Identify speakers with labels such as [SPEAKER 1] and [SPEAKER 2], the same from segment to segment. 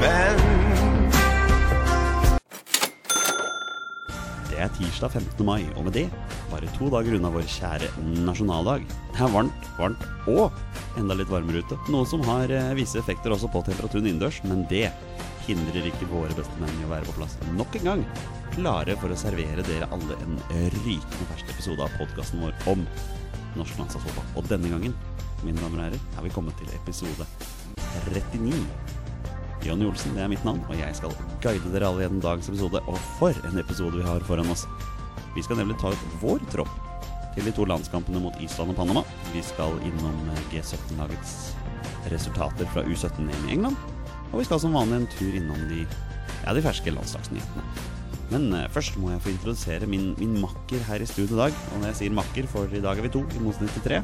[SPEAKER 1] menn.
[SPEAKER 2] Det er tirsdag 15. mai, og med det, bare to dager unna vår kjære nasjonaldag. Det er varmt, varmt og enda litt varmere ute. Noe som har eh, visse effekter også på temperaturen innendørs, men det hindrer ikke våre bestemenn i å være på plass nok en gang. Klare for å servere dere alle en rykende fersk episode av podkasten vår om norsk landslagsfotball. Og denne gangen, mine damer og herrer, er vi kommet til episode 39. Jonny Olsen, det er mitt navn, og jeg skal guide dere alle gjennom dagens episode. Og for en episode vi har foran oss! Vi skal nemlig ta ut vår tropp til de to landskampene mot Island og Panama. Vi skal innom eh, G17-lagets resultater fra U17-EM i England. Og vi skal som vanlig en tur innom de, ja, de ferske landslagsnyhetene. Men eh, først må jeg få introdusere min, min makker her i studio i dag. Og når jeg sier makker, for i dag er vi to, i motsetning til tre.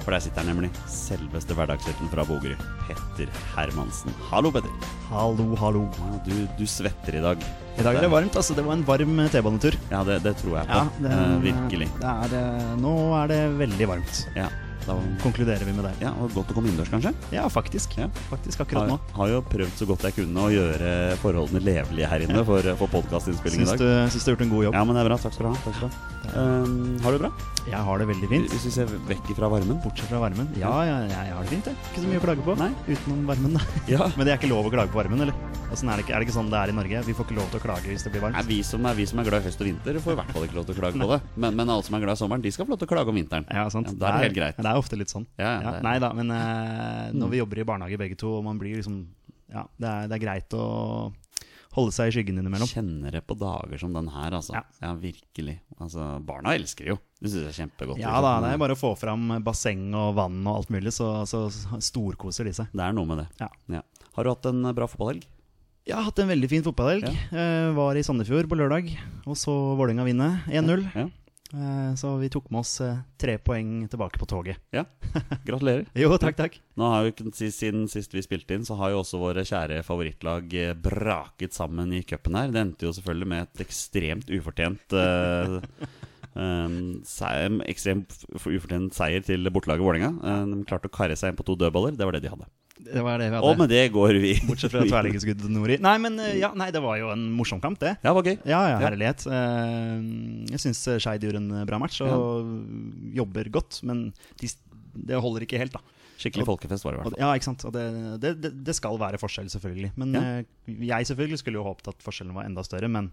[SPEAKER 2] For der sitter nemlig selveste hverdagshelten fra Bogerud, Petter Hermansen. Hallo, Petter.
[SPEAKER 3] Hallo, hallo.
[SPEAKER 2] Ja, du, du svetter i dag.
[SPEAKER 3] I dag er det varmt, altså. Det var en varm eh, T-banetur.
[SPEAKER 2] Ja, det, det tror jeg på.
[SPEAKER 3] det-
[SPEAKER 2] eh, virkelig.
[SPEAKER 3] Det er, eh, nå er det veldig varmt.
[SPEAKER 2] Ja, da,
[SPEAKER 3] Konkluderer vi med det.
[SPEAKER 2] ja, og godt å komme innendørs, kanskje?
[SPEAKER 3] Ja, faktisk.
[SPEAKER 2] Ja.
[SPEAKER 3] Faktisk akkurat
[SPEAKER 2] Har,
[SPEAKER 3] nå.
[SPEAKER 2] har jo prøvd så godt jeg kunne å gjøre forholdene levelige her inne for, for podkastinnspilling i
[SPEAKER 3] Syns
[SPEAKER 2] dag.
[SPEAKER 3] du, syns du har gjort en god jobb?
[SPEAKER 2] Ja, men det er bra. Takk skal du ha. Takk skal du ha. Um, har du det bra?
[SPEAKER 3] Jeg har det veldig fint.
[SPEAKER 2] Hvis vi ser vekk ifra varmen.
[SPEAKER 3] Bortsett fra varmen. Ja, ja, ja, jeg har det fint, jeg. Ikke så mye å klage på.
[SPEAKER 2] Nei.
[SPEAKER 3] Utenom varmen, da.
[SPEAKER 2] Ja.
[SPEAKER 3] Men det er ikke lov å klage på varmen, eller? Åssen er, det ikke, er det ikke sånn det er i Norge? Vi får ikke lov til å klage hvis det blir
[SPEAKER 2] Nei,
[SPEAKER 3] varmt.
[SPEAKER 2] vi, som er, vi som er glad i høst og vinter, får i hvert fall ikke lov til å klage på det. Men, men alle som er glad i sommeren, de skal få lov til å klage om vinteren.
[SPEAKER 3] Ja, sant.
[SPEAKER 2] Ja, da er det helt greit.
[SPEAKER 3] Det er ofte litt sånn.
[SPEAKER 2] Ja, ja,
[SPEAKER 3] Ja,
[SPEAKER 2] det er-
[SPEAKER 3] nei da, men eh, når vi jobber i barnehage begge to, og man blir liksom Ja, det er, det er greit å holde seg i skyggen innimellom.
[SPEAKER 2] Kjenner det på dager som den her, altså. Ja,
[SPEAKER 3] Ja.
[SPEAKER 2] virkelig. Altså, barna elsker det jo. De syns det er kjempegodt. liksom.
[SPEAKER 3] Ja da, det er bare å få fram basseng og vann og alt mulig, så, så storkoser de seg.
[SPEAKER 2] Det er noe med det.
[SPEAKER 3] Ja.
[SPEAKER 2] Har du hatt en eh, bra fotballhelg?
[SPEAKER 3] Jeg har hatt en veldig fin fotballhelg. Eh, var i Sandefjord på lørdag, og så Vålerenga vinne 1-0.
[SPEAKER 2] Ja.
[SPEAKER 3] Eh, så vi tok med oss eh, tre poeng tilbake på toget.
[SPEAKER 2] ja. Gratulerer.
[SPEAKER 3] Jo, takk, takk.
[SPEAKER 2] Nå har jo, ikke- si- Siden sist vi spilte inn, så har jo også våre kjære favorittlag eh, braket sammen i cupen her. Det endte jo selvfølgelig med et ekstremt ufortjent eh, em, seier, en ekstremt f- ufortjent seier til bortelaget Vålerenga. Eh, De klarte å karre seg inn på to dødballer. Det var det de hadde.
[SPEAKER 3] Det var det vi
[SPEAKER 2] Og
[SPEAKER 3] hadde.
[SPEAKER 2] med det går vi
[SPEAKER 3] Bortsett fra tverrliggerskuddet til Nori. Nei, men eh, ja, nei, det var jo en morsom kamp, det.
[SPEAKER 2] Ja, det var gøy.
[SPEAKER 3] Ja, ja,
[SPEAKER 2] Ja.
[SPEAKER 3] herlighet. Eh, Jeg syns Skeid gjorde en eh, bra match og jobber godt, men de, det holder ikke helt, da.
[SPEAKER 2] Skikkelig folkefest var det i hvert fall.
[SPEAKER 3] Og, ja, ikke sant. Og det, det, det, det skal være forskjell, selvfølgelig. Men
[SPEAKER 2] Ja.
[SPEAKER 3] eh, jeg selvfølgelig skulle jo håpet at forskjellen var enda større, men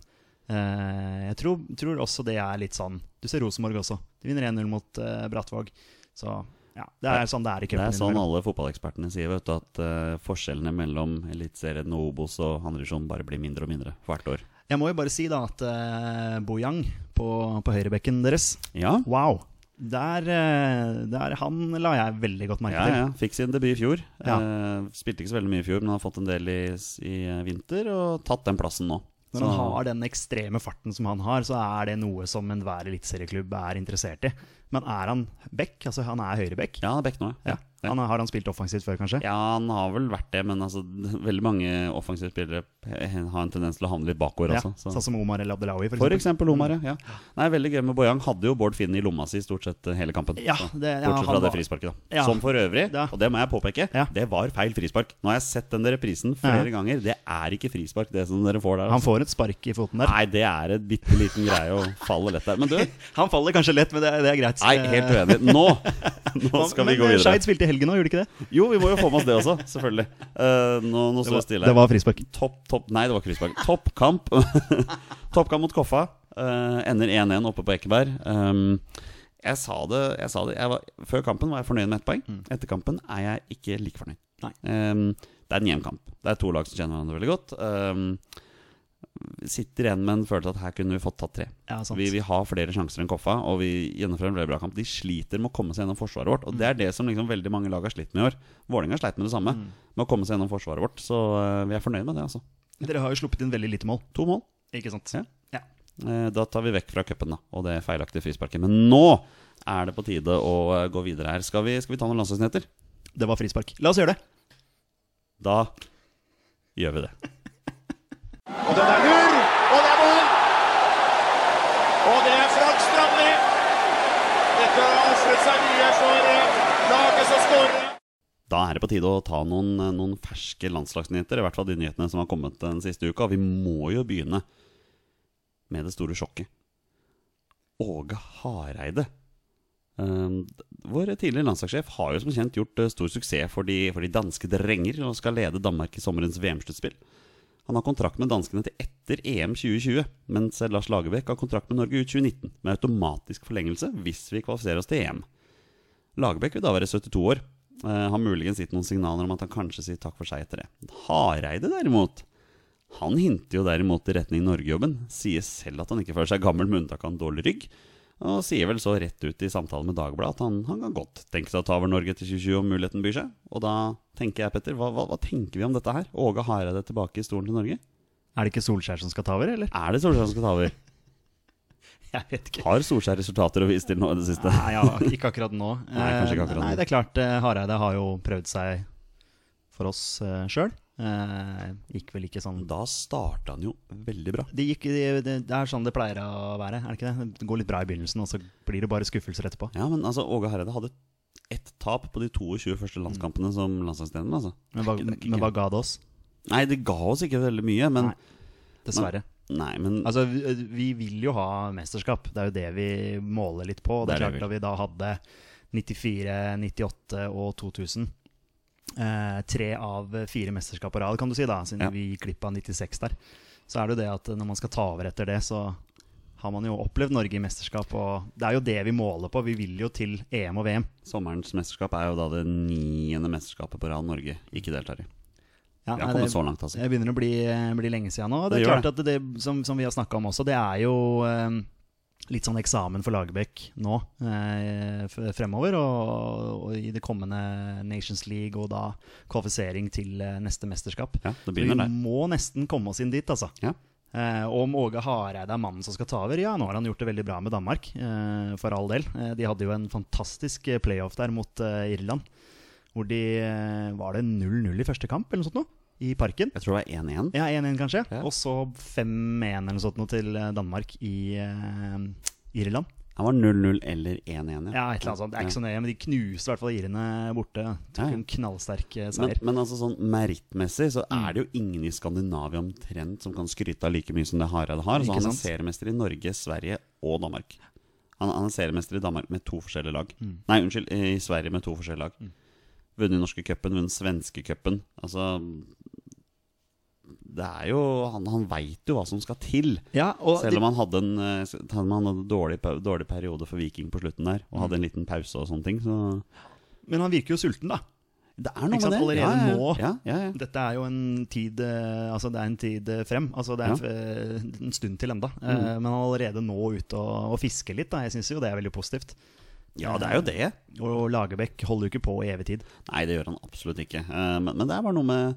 [SPEAKER 3] eh, jeg tror, tror også det er litt sånn Du ser Rosenborg også. De vinner 1-0 mot eh, Brattvåg. Så ja, det er sånn det er i
[SPEAKER 2] Det
[SPEAKER 3] cupen.
[SPEAKER 2] er sånn
[SPEAKER 3] innimellom.
[SPEAKER 2] alle fotballekspertene sier, vet du, at eh, forskjellene mellom Eliteserien og Obos og andrevisjon bare blir mindre og mindre hvert år.
[SPEAKER 3] Jeg må jo bare si da at eh, Bojang på, på høyrebekken deres,
[SPEAKER 2] Ja,
[SPEAKER 3] wow! Der, eh, der Han la jeg veldig godt merke
[SPEAKER 2] ja,
[SPEAKER 3] til.
[SPEAKER 2] ja. fikk sin debut i fjor.
[SPEAKER 3] Ja.
[SPEAKER 2] Eh, spilte ikke så veldig mye i fjor, men har fått en del i, i eh, vinter og tatt den plassen nå.
[SPEAKER 3] Når han har den ekstreme farten som han har, så er det noe som enhver eliteserieklubb er interessert i. Men er han back? Altså, han er høyreback.
[SPEAKER 2] Ja, han er back nå, ja. Ja.
[SPEAKER 3] Han er, har han spilt offensivt før, kanskje?
[SPEAKER 2] Ja, han har vel vært det, men altså, veldig mange offensive spillere eh, har en tendens til å havne litt bakover.
[SPEAKER 3] Ja,
[SPEAKER 2] Altså, så.
[SPEAKER 3] Sånn som Omar El Abdelawi, for
[SPEAKER 2] For
[SPEAKER 3] eksempel.
[SPEAKER 2] eksempel Omar, ja. ja. Nei, veldig gøy med Bojang. Hadde jo Bård Finn i lomma si stort sett eh, hele kampen.
[SPEAKER 3] Ja,
[SPEAKER 2] Så,
[SPEAKER 3] det- ja,
[SPEAKER 2] Bortsett
[SPEAKER 3] han
[SPEAKER 2] fra det
[SPEAKER 3] var-
[SPEAKER 2] frisparket, da.
[SPEAKER 3] Ja.
[SPEAKER 2] Som for øvrig,
[SPEAKER 3] Ja.
[SPEAKER 2] og det må jeg påpeke,
[SPEAKER 3] Ja.
[SPEAKER 2] det var feil frispark. Nå har jeg sett den reprisen flere ganger. Det er ikke frispark, det som dere får der.
[SPEAKER 3] Han får et spark i foten der.
[SPEAKER 2] Nei, det er en bitte liten greie å falle lett der. Men du,
[SPEAKER 3] Han faller kanskje lett, men det, er- det er greit.
[SPEAKER 2] nei, helt uenig. Nå, nå
[SPEAKER 3] Eh,
[SPEAKER 2] skal vi
[SPEAKER 3] men,
[SPEAKER 2] gå
[SPEAKER 3] eh,
[SPEAKER 2] videre.
[SPEAKER 3] Skeid spilte i helgen òg, gjorde ikke det?
[SPEAKER 2] Jo, vi må jo få med oss det også, selvfølgelig. Eh, nå, nå står det stille.
[SPEAKER 3] Det var frispark.
[SPEAKER 2] Topp, topp Nei, det var ikke frispark. Toppkamp. Toppkamp mot Koffa. Eh, ender 1-1 oppe på Ekeberg. Um, jeg sa det, jeg sa det. Jeg var, Før kampen var jeg fornøyd med ett poeng. Etter kampen er jeg ikke like fornøyd.
[SPEAKER 3] Mm. Nei.
[SPEAKER 2] Um, det er en jevn kamp. Det er to lag som kjenner hverandre veldig godt. Um, sitter igjen med en følelse at her kunne vi fått tatt tre.
[SPEAKER 3] Ja, sant.
[SPEAKER 2] Vi, vi har flere sjanser enn Koffa, og vi gjennomfører en veldig bra kamp. De sliter med å komme seg gjennom forsvaret vårt, og det er det som liksom veldig mange lag har slitt med i år. Vålerenga sleit med det samme, med å komme seg gjennom forsvaret vårt. Så eh, vi er fornøyd med det, altså.
[SPEAKER 3] Dere har jo sluppet inn veldig lite mål,
[SPEAKER 2] To mål.
[SPEAKER 3] ikke sant?
[SPEAKER 2] Ja.
[SPEAKER 3] Ja.
[SPEAKER 2] Eh, Da tar vi vekk fra cupen da, og det feilaktige frisparket. Men nå er det på tide å eh, gå videre her. Skal vi, skal vi ta noen landslagsnyheter?
[SPEAKER 3] Det var frispark. La oss gjøre det.
[SPEAKER 2] Da gjør vi det.
[SPEAKER 4] Og den er lur, og det er mål! Og det er Frank Strandli. Dette har ofret seg mye for eh, laget som skårer.
[SPEAKER 2] Da er det på tide å ta noen, noen ferske landslagsnyheter, i hvert fall de nyhetene som har kommet den siste uka. Vi må jo begynne med det store sjokket. Åge Hareide. Um, vår tidligere landslagssjef har jo som kjent gjort eh, stor suksess for de, for de danske drenger og skal lede Danmark i sommerens VM-sluttspill. Han har kontrakt med danskene til etter EM 2020, mens Lars Lagerbäck har kontrakt med Norge ut 2019, med automatisk forlengelse hvis vi kvalifiserer oss til EM. Lagerbäck vil da være 72 år. Eh, har muligens gitt noen signaler om at han kanskje sier takk for seg etter det. Hareide, derimot, han hinter jo derimot i retning Norgejobben. Sier selv at han ikke føler seg gammel med unntak av en dårlig rygg. Og sier vel så rett ut i samtalen med Dagbladet at han, han kan godt tenke seg å ta over Norge til 2020 om muligheten byr seg. Og da tenker jeg, Petter, hva, hva, hva tenker vi om dette her? Åge Hareide tilbake i stolen til Norge?
[SPEAKER 3] Er det ikke Solskjær som skal ta over, eller?
[SPEAKER 2] Er det Solskjær som skal ta over?
[SPEAKER 3] Jeg vet ikke.
[SPEAKER 2] Har Solskjær resultater å vise til nå i det siste?
[SPEAKER 3] Nei, ja, ikke akkurat nå.
[SPEAKER 2] Nei, kanskje ikke akkurat
[SPEAKER 3] Eh,
[SPEAKER 2] nå.
[SPEAKER 3] Nei, det er klart, eh, Hareide har jo prøvd seg for oss uh, sjøl. gikk vel ikke sånn
[SPEAKER 2] Da starta han jo veldig bra.
[SPEAKER 3] det, gikk, det, det, det er sånn det pleier å være, er det ikke det? Det går litt bra i begynnelsen, og så blir det bare skuffelser etterpå.
[SPEAKER 2] Ja, men altså, Åge Hareide hadde ett tap på de 22 første landskampene som landslagstrener. Altså.
[SPEAKER 3] Men hva,
[SPEAKER 2] Det er ikke- det er ikke
[SPEAKER 3] men hva ga det oss?
[SPEAKER 2] Nei, det ga oss ikke veldig mye, men
[SPEAKER 3] Nei. Dessverre.
[SPEAKER 2] Nei, men
[SPEAKER 3] Altså, vi, vi vil jo ha mesterskap. Det er jo det vi måler litt på. og Det
[SPEAKER 2] Det
[SPEAKER 3] er
[SPEAKER 2] er det
[SPEAKER 3] klart Da vi da hadde 94, 98 og 2000 eh, Tre av fire mesterskap på rad, kan du si, da siden
[SPEAKER 2] Ja.
[SPEAKER 3] vi gikk glipp av 96 der. Så er det jo det at når man skal ta over etter det, så har man jo opplevd Norge i mesterskap. Og det er jo det vi måler på. Vi vil jo til EM og VM.
[SPEAKER 2] sommerens mesterskap er jo da det niende mesterskapet på rad Norge ikke deltar i.
[SPEAKER 3] Ja,
[SPEAKER 2] Vi har
[SPEAKER 3] nei,
[SPEAKER 2] kommet
[SPEAKER 3] det-
[SPEAKER 2] så langt, altså.
[SPEAKER 3] Det begynner å bli, eh, bli lenge siden nå. og Det
[SPEAKER 2] Det
[SPEAKER 3] er
[SPEAKER 2] gjør
[SPEAKER 3] klart at det, som, som vi har snakka om også, det er jo eh, litt sånn eksamen for Lagerbäck nå eh, f- fremover. Og, og i det kommende Nations League og da kvalifisering til eh, neste mesterskap.
[SPEAKER 2] Ja, det
[SPEAKER 3] Så vi
[SPEAKER 2] begynner der.
[SPEAKER 3] må nesten komme oss inn dit, altså.
[SPEAKER 2] Ja.
[SPEAKER 3] Eh, og om Åge Hareide er mannen som skal ta over? Ja, nå har han gjort det veldig bra med Danmark. Eh, for all del. Eh, de hadde jo en fantastisk eh, playoff der mot eh, Irland. Hvor de eh, Var det 0-0 i første kamp, eller noe sånt noe? I Parken.
[SPEAKER 2] Jeg tror det var 1-1.
[SPEAKER 3] Ja, 1-1 kanskje.
[SPEAKER 2] Ja.
[SPEAKER 3] Og så 5-1 eller noe sånt noe til eh, Danmark i eh, Irland.
[SPEAKER 2] Han var 0-0 eller 1-1,
[SPEAKER 3] Ja, et eller annet sånt. Det er ikke sånn så nøye, men de knuste i hvert fall irene borte.
[SPEAKER 2] Ja,
[SPEAKER 3] Tok
[SPEAKER 2] ja.
[SPEAKER 3] en knallsterk eh,
[SPEAKER 2] Men,
[SPEAKER 3] seier. Mm.
[SPEAKER 2] men altså sånn merittmessig så er det jo ingen i Skandinavia omtrent som kan skryte av like mye som det Hareide har.
[SPEAKER 3] Ikke
[SPEAKER 2] Så han er
[SPEAKER 3] sant?
[SPEAKER 2] seriemester i Norge, Sverige og Danmark. Han, han er seriemester i Danmark med to forskjellige lag.
[SPEAKER 3] Mm.
[SPEAKER 2] Nei, unnskyld, i Sverige med to forskjellige lag. Vunnet norske cupen, vunnet svenske cupen. Altså Det er jo Han, han veit jo hva som skal til.
[SPEAKER 3] Ja, og
[SPEAKER 2] Selv
[SPEAKER 3] de,
[SPEAKER 2] om han hadde en eh, selv om han hadde en dårlig, pe- dårlig periode for Viking på slutten der, og
[SPEAKER 3] Mm.
[SPEAKER 2] hadde en liten pause og sånne ting, så
[SPEAKER 3] men han virker jo sulten, da.
[SPEAKER 2] Det er noe
[SPEAKER 3] Ikke sant,
[SPEAKER 2] med
[SPEAKER 3] allerede
[SPEAKER 2] det. ja, ja, ja.
[SPEAKER 3] nå.
[SPEAKER 2] Ja, ja, ja.
[SPEAKER 3] Dette er jo en tid eh, Altså det er en tid eh, frem. Altså det er en, f-
[SPEAKER 2] Ja. Mm.
[SPEAKER 3] eh, en stund til enda Eh, Men han er allerede nå ute og, og fisker litt. Da. Jeg syns jo det er veldig positivt. Eh,
[SPEAKER 2] ja, det er jo det.
[SPEAKER 3] Og Lagerbäck holder jo ikke på i evig tid.
[SPEAKER 2] Nei, det gjør han absolutt ikke. Eh, Men, men det er bare noe med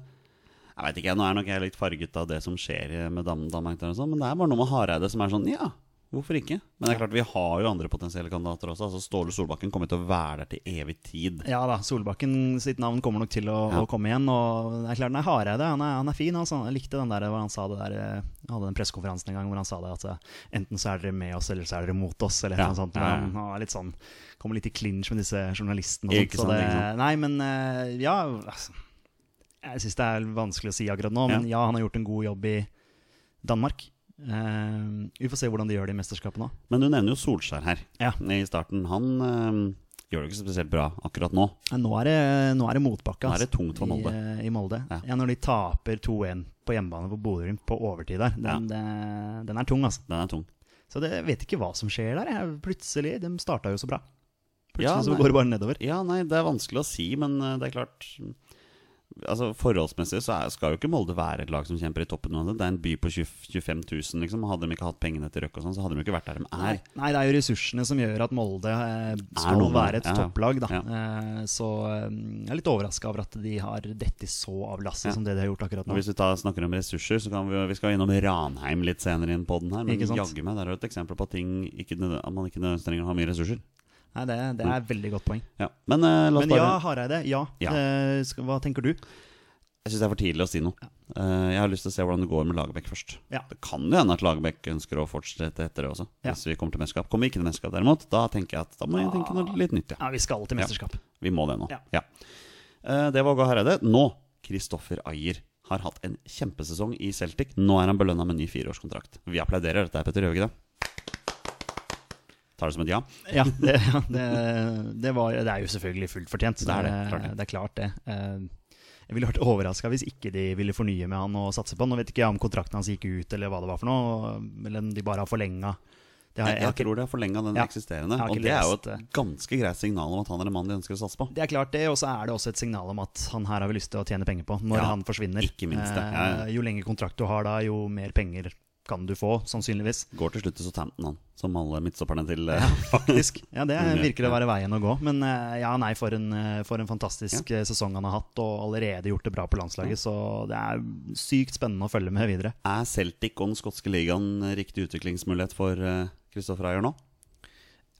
[SPEAKER 2] Jeg vet ikke, Nå er nok jeg litt farget av det som skjer eh, med Dam Danmark, der og sånn, men det er bare noe med Hareide som er sånn Ja, hvorfor ikke? Men det er klart, vi har jo andre potensielle kandidater også. Altså Ståle Solbakken kommer til å være der til evig tid.
[SPEAKER 3] Ja da, Solbakken sitt navn kommer nok til å,
[SPEAKER 2] Ja.
[SPEAKER 3] å komme igjen. Og det er klart, nei, Hareide han er, han er fin. Altså. Jeg likte den der hvor han sa det der eh, Jeg hadde den pressekonferansen en gang hvor han sa det at eh, enten så er dere med oss, eller så er dere mot oss, eller
[SPEAKER 2] Ja,
[SPEAKER 3] noe sånt.
[SPEAKER 2] ja, ja.
[SPEAKER 3] Han, han er litt sånn Kommer litt i clinch med disse journalistene og
[SPEAKER 2] Ikke
[SPEAKER 3] sånt. Så
[SPEAKER 2] sant,
[SPEAKER 3] det,
[SPEAKER 2] ikke sant.
[SPEAKER 3] nei, men eh, ja altså, Jeg syns det er vanskelig å si akkurat nå, men ja, han har gjort en god jobb i Danmark. Eh, vi får se hvordan de gjør det i mesterskapet nå.
[SPEAKER 2] Men du nevner jo Solskjær her
[SPEAKER 3] Ja.
[SPEAKER 2] i starten. Han eh, gjør det ikke så spesielt bra akkurat nå.
[SPEAKER 3] Nei, Nå er det, nå er det motbakke.
[SPEAKER 2] Nå er det
[SPEAKER 3] altså,
[SPEAKER 2] tungt for Molde.
[SPEAKER 3] I, eh, i Molde.
[SPEAKER 2] Ja.
[SPEAKER 3] Ja. når de taper 2-1 på hjemmebane på Bodø-Glimt på overtid der. Den,
[SPEAKER 2] Ja.
[SPEAKER 3] det- den er tung, altså.
[SPEAKER 2] Den er tung.
[SPEAKER 3] Så det, jeg vet ikke hva som skjer der. Jeg, plutselig, De starta jo så bra. Plutselig
[SPEAKER 2] Ja,
[SPEAKER 3] så
[SPEAKER 2] nei.
[SPEAKER 3] går det bare nedover.
[SPEAKER 2] Ja, nei, det er vanskelig å si, men eh, det er klart Altså, Forholdsmessig så er, skal jo ikke Molde være et lag som kjemper i toppen. nå. Det er en by på 20, 25 000, liksom. Hadde de ikke hatt pengene til Røkke og sånn, så hadde de ikke vært der de er.
[SPEAKER 3] Nei, det er jo ressursene som gjør at Molde eh, skal
[SPEAKER 2] noe med
[SPEAKER 3] være
[SPEAKER 2] det.
[SPEAKER 3] et
[SPEAKER 2] Ja, ja.
[SPEAKER 3] topplag, da.
[SPEAKER 2] Ja.
[SPEAKER 3] Eh, så eh, jeg er litt overraska over at de har dette så av lasset
[SPEAKER 2] Ja.
[SPEAKER 3] som det de har gjort akkurat
[SPEAKER 2] Og
[SPEAKER 3] nå.
[SPEAKER 2] hvis vi tar, snakker om ressurser, så kan vi, jo- vi skal innom Ranheim litt senere inn på den her. Men
[SPEAKER 3] Ikke sant?
[SPEAKER 2] jaggu meg, det er jo et eksempel på at ting ikke, nødv- at man ikke nødvendigvis trenger å ha mye ressurser.
[SPEAKER 3] Nei, det, det er veldig godt poeng.
[SPEAKER 2] Ja. Men eh, Mm. la oss
[SPEAKER 3] Men
[SPEAKER 2] bare
[SPEAKER 3] ja, Hareide. Ja.
[SPEAKER 2] Ja.
[SPEAKER 3] Eh, skal, hva tenker du?
[SPEAKER 2] Jeg syns det er for tidlig å si noe. Eh, jeg har lyst til å se hvordan det går med Lagerbäck først.
[SPEAKER 3] Ja.
[SPEAKER 2] Det kan jo hende at Lagerbäck ønsker å fortsette etter det også.
[SPEAKER 3] Ja.
[SPEAKER 2] Hvis vi kommer til mesterskap. Kommer vi ikke til mesterskap derimot, da tenker jeg at da må jeg tenke noe litt nytt. Ja.
[SPEAKER 3] Ja, Vi skal til mesterskap.
[SPEAKER 2] Vi må det nå.
[SPEAKER 3] Ja.
[SPEAKER 2] Ja. Eh, Det var Åge Hareide. Nå Kristoffer Ayer har hatt en kjempesesong i Celtic. Nå er han belønna med en ny fireårskontrakt. Vi applauderer dette, her, Petter, gjør vi ikke det? Tar det som et ja?
[SPEAKER 3] Ja, det, ja, det, det, var, det er jo selvfølgelig fullt fortjent.
[SPEAKER 2] Det er det, klart det.
[SPEAKER 3] det. er klart det. Eh, Jeg ville vært overraska hvis ikke de ville fornye med han og satse på han. Nå vet ikke jeg om kontrakten hans gikk ut, eller hva det var for noe. Eller om de bare har forlenga. Det, har
[SPEAKER 2] Jeg,
[SPEAKER 3] jeg- jeg har ikke-
[SPEAKER 2] tror det har forlenga den
[SPEAKER 3] Ja.
[SPEAKER 2] eksisterende.
[SPEAKER 3] Jeg har ikke
[SPEAKER 2] Og det er jo
[SPEAKER 3] lest
[SPEAKER 2] et ganske greit signal om at han er en mann de ønsker å satse på.
[SPEAKER 3] det er klart det, og så er det også et signal om at han her har vi lyst til å tjene penger på når
[SPEAKER 2] Ja,
[SPEAKER 3] han forsvinner.
[SPEAKER 2] ikke minst det. Ja, ja.
[SPEAKER 3] Eh, Jo lengre kontrakt du har da, jo mer penger kan du få, sannsynligvis.
[SPEAKER 2] Går til slutt til Southampton, han. Som alle midtstopperne til eh,
[SPEAKER 3] Faktisk. Ja, det
[SPEAKER 2] Mm, ja.
[SPEAKER 3] virker å være veien å gå. Men eh, ja, nei, for en, eh, for en fantastisk eh, sesong han har hatt, og allerede gjort det bra på landslaget. Så det er sykt spennende å følge med videre.
[SPEAKER 2] Er Celtic og den skotske ligaen riktig utviklingsmulighet for Kristoffer Ayer nå?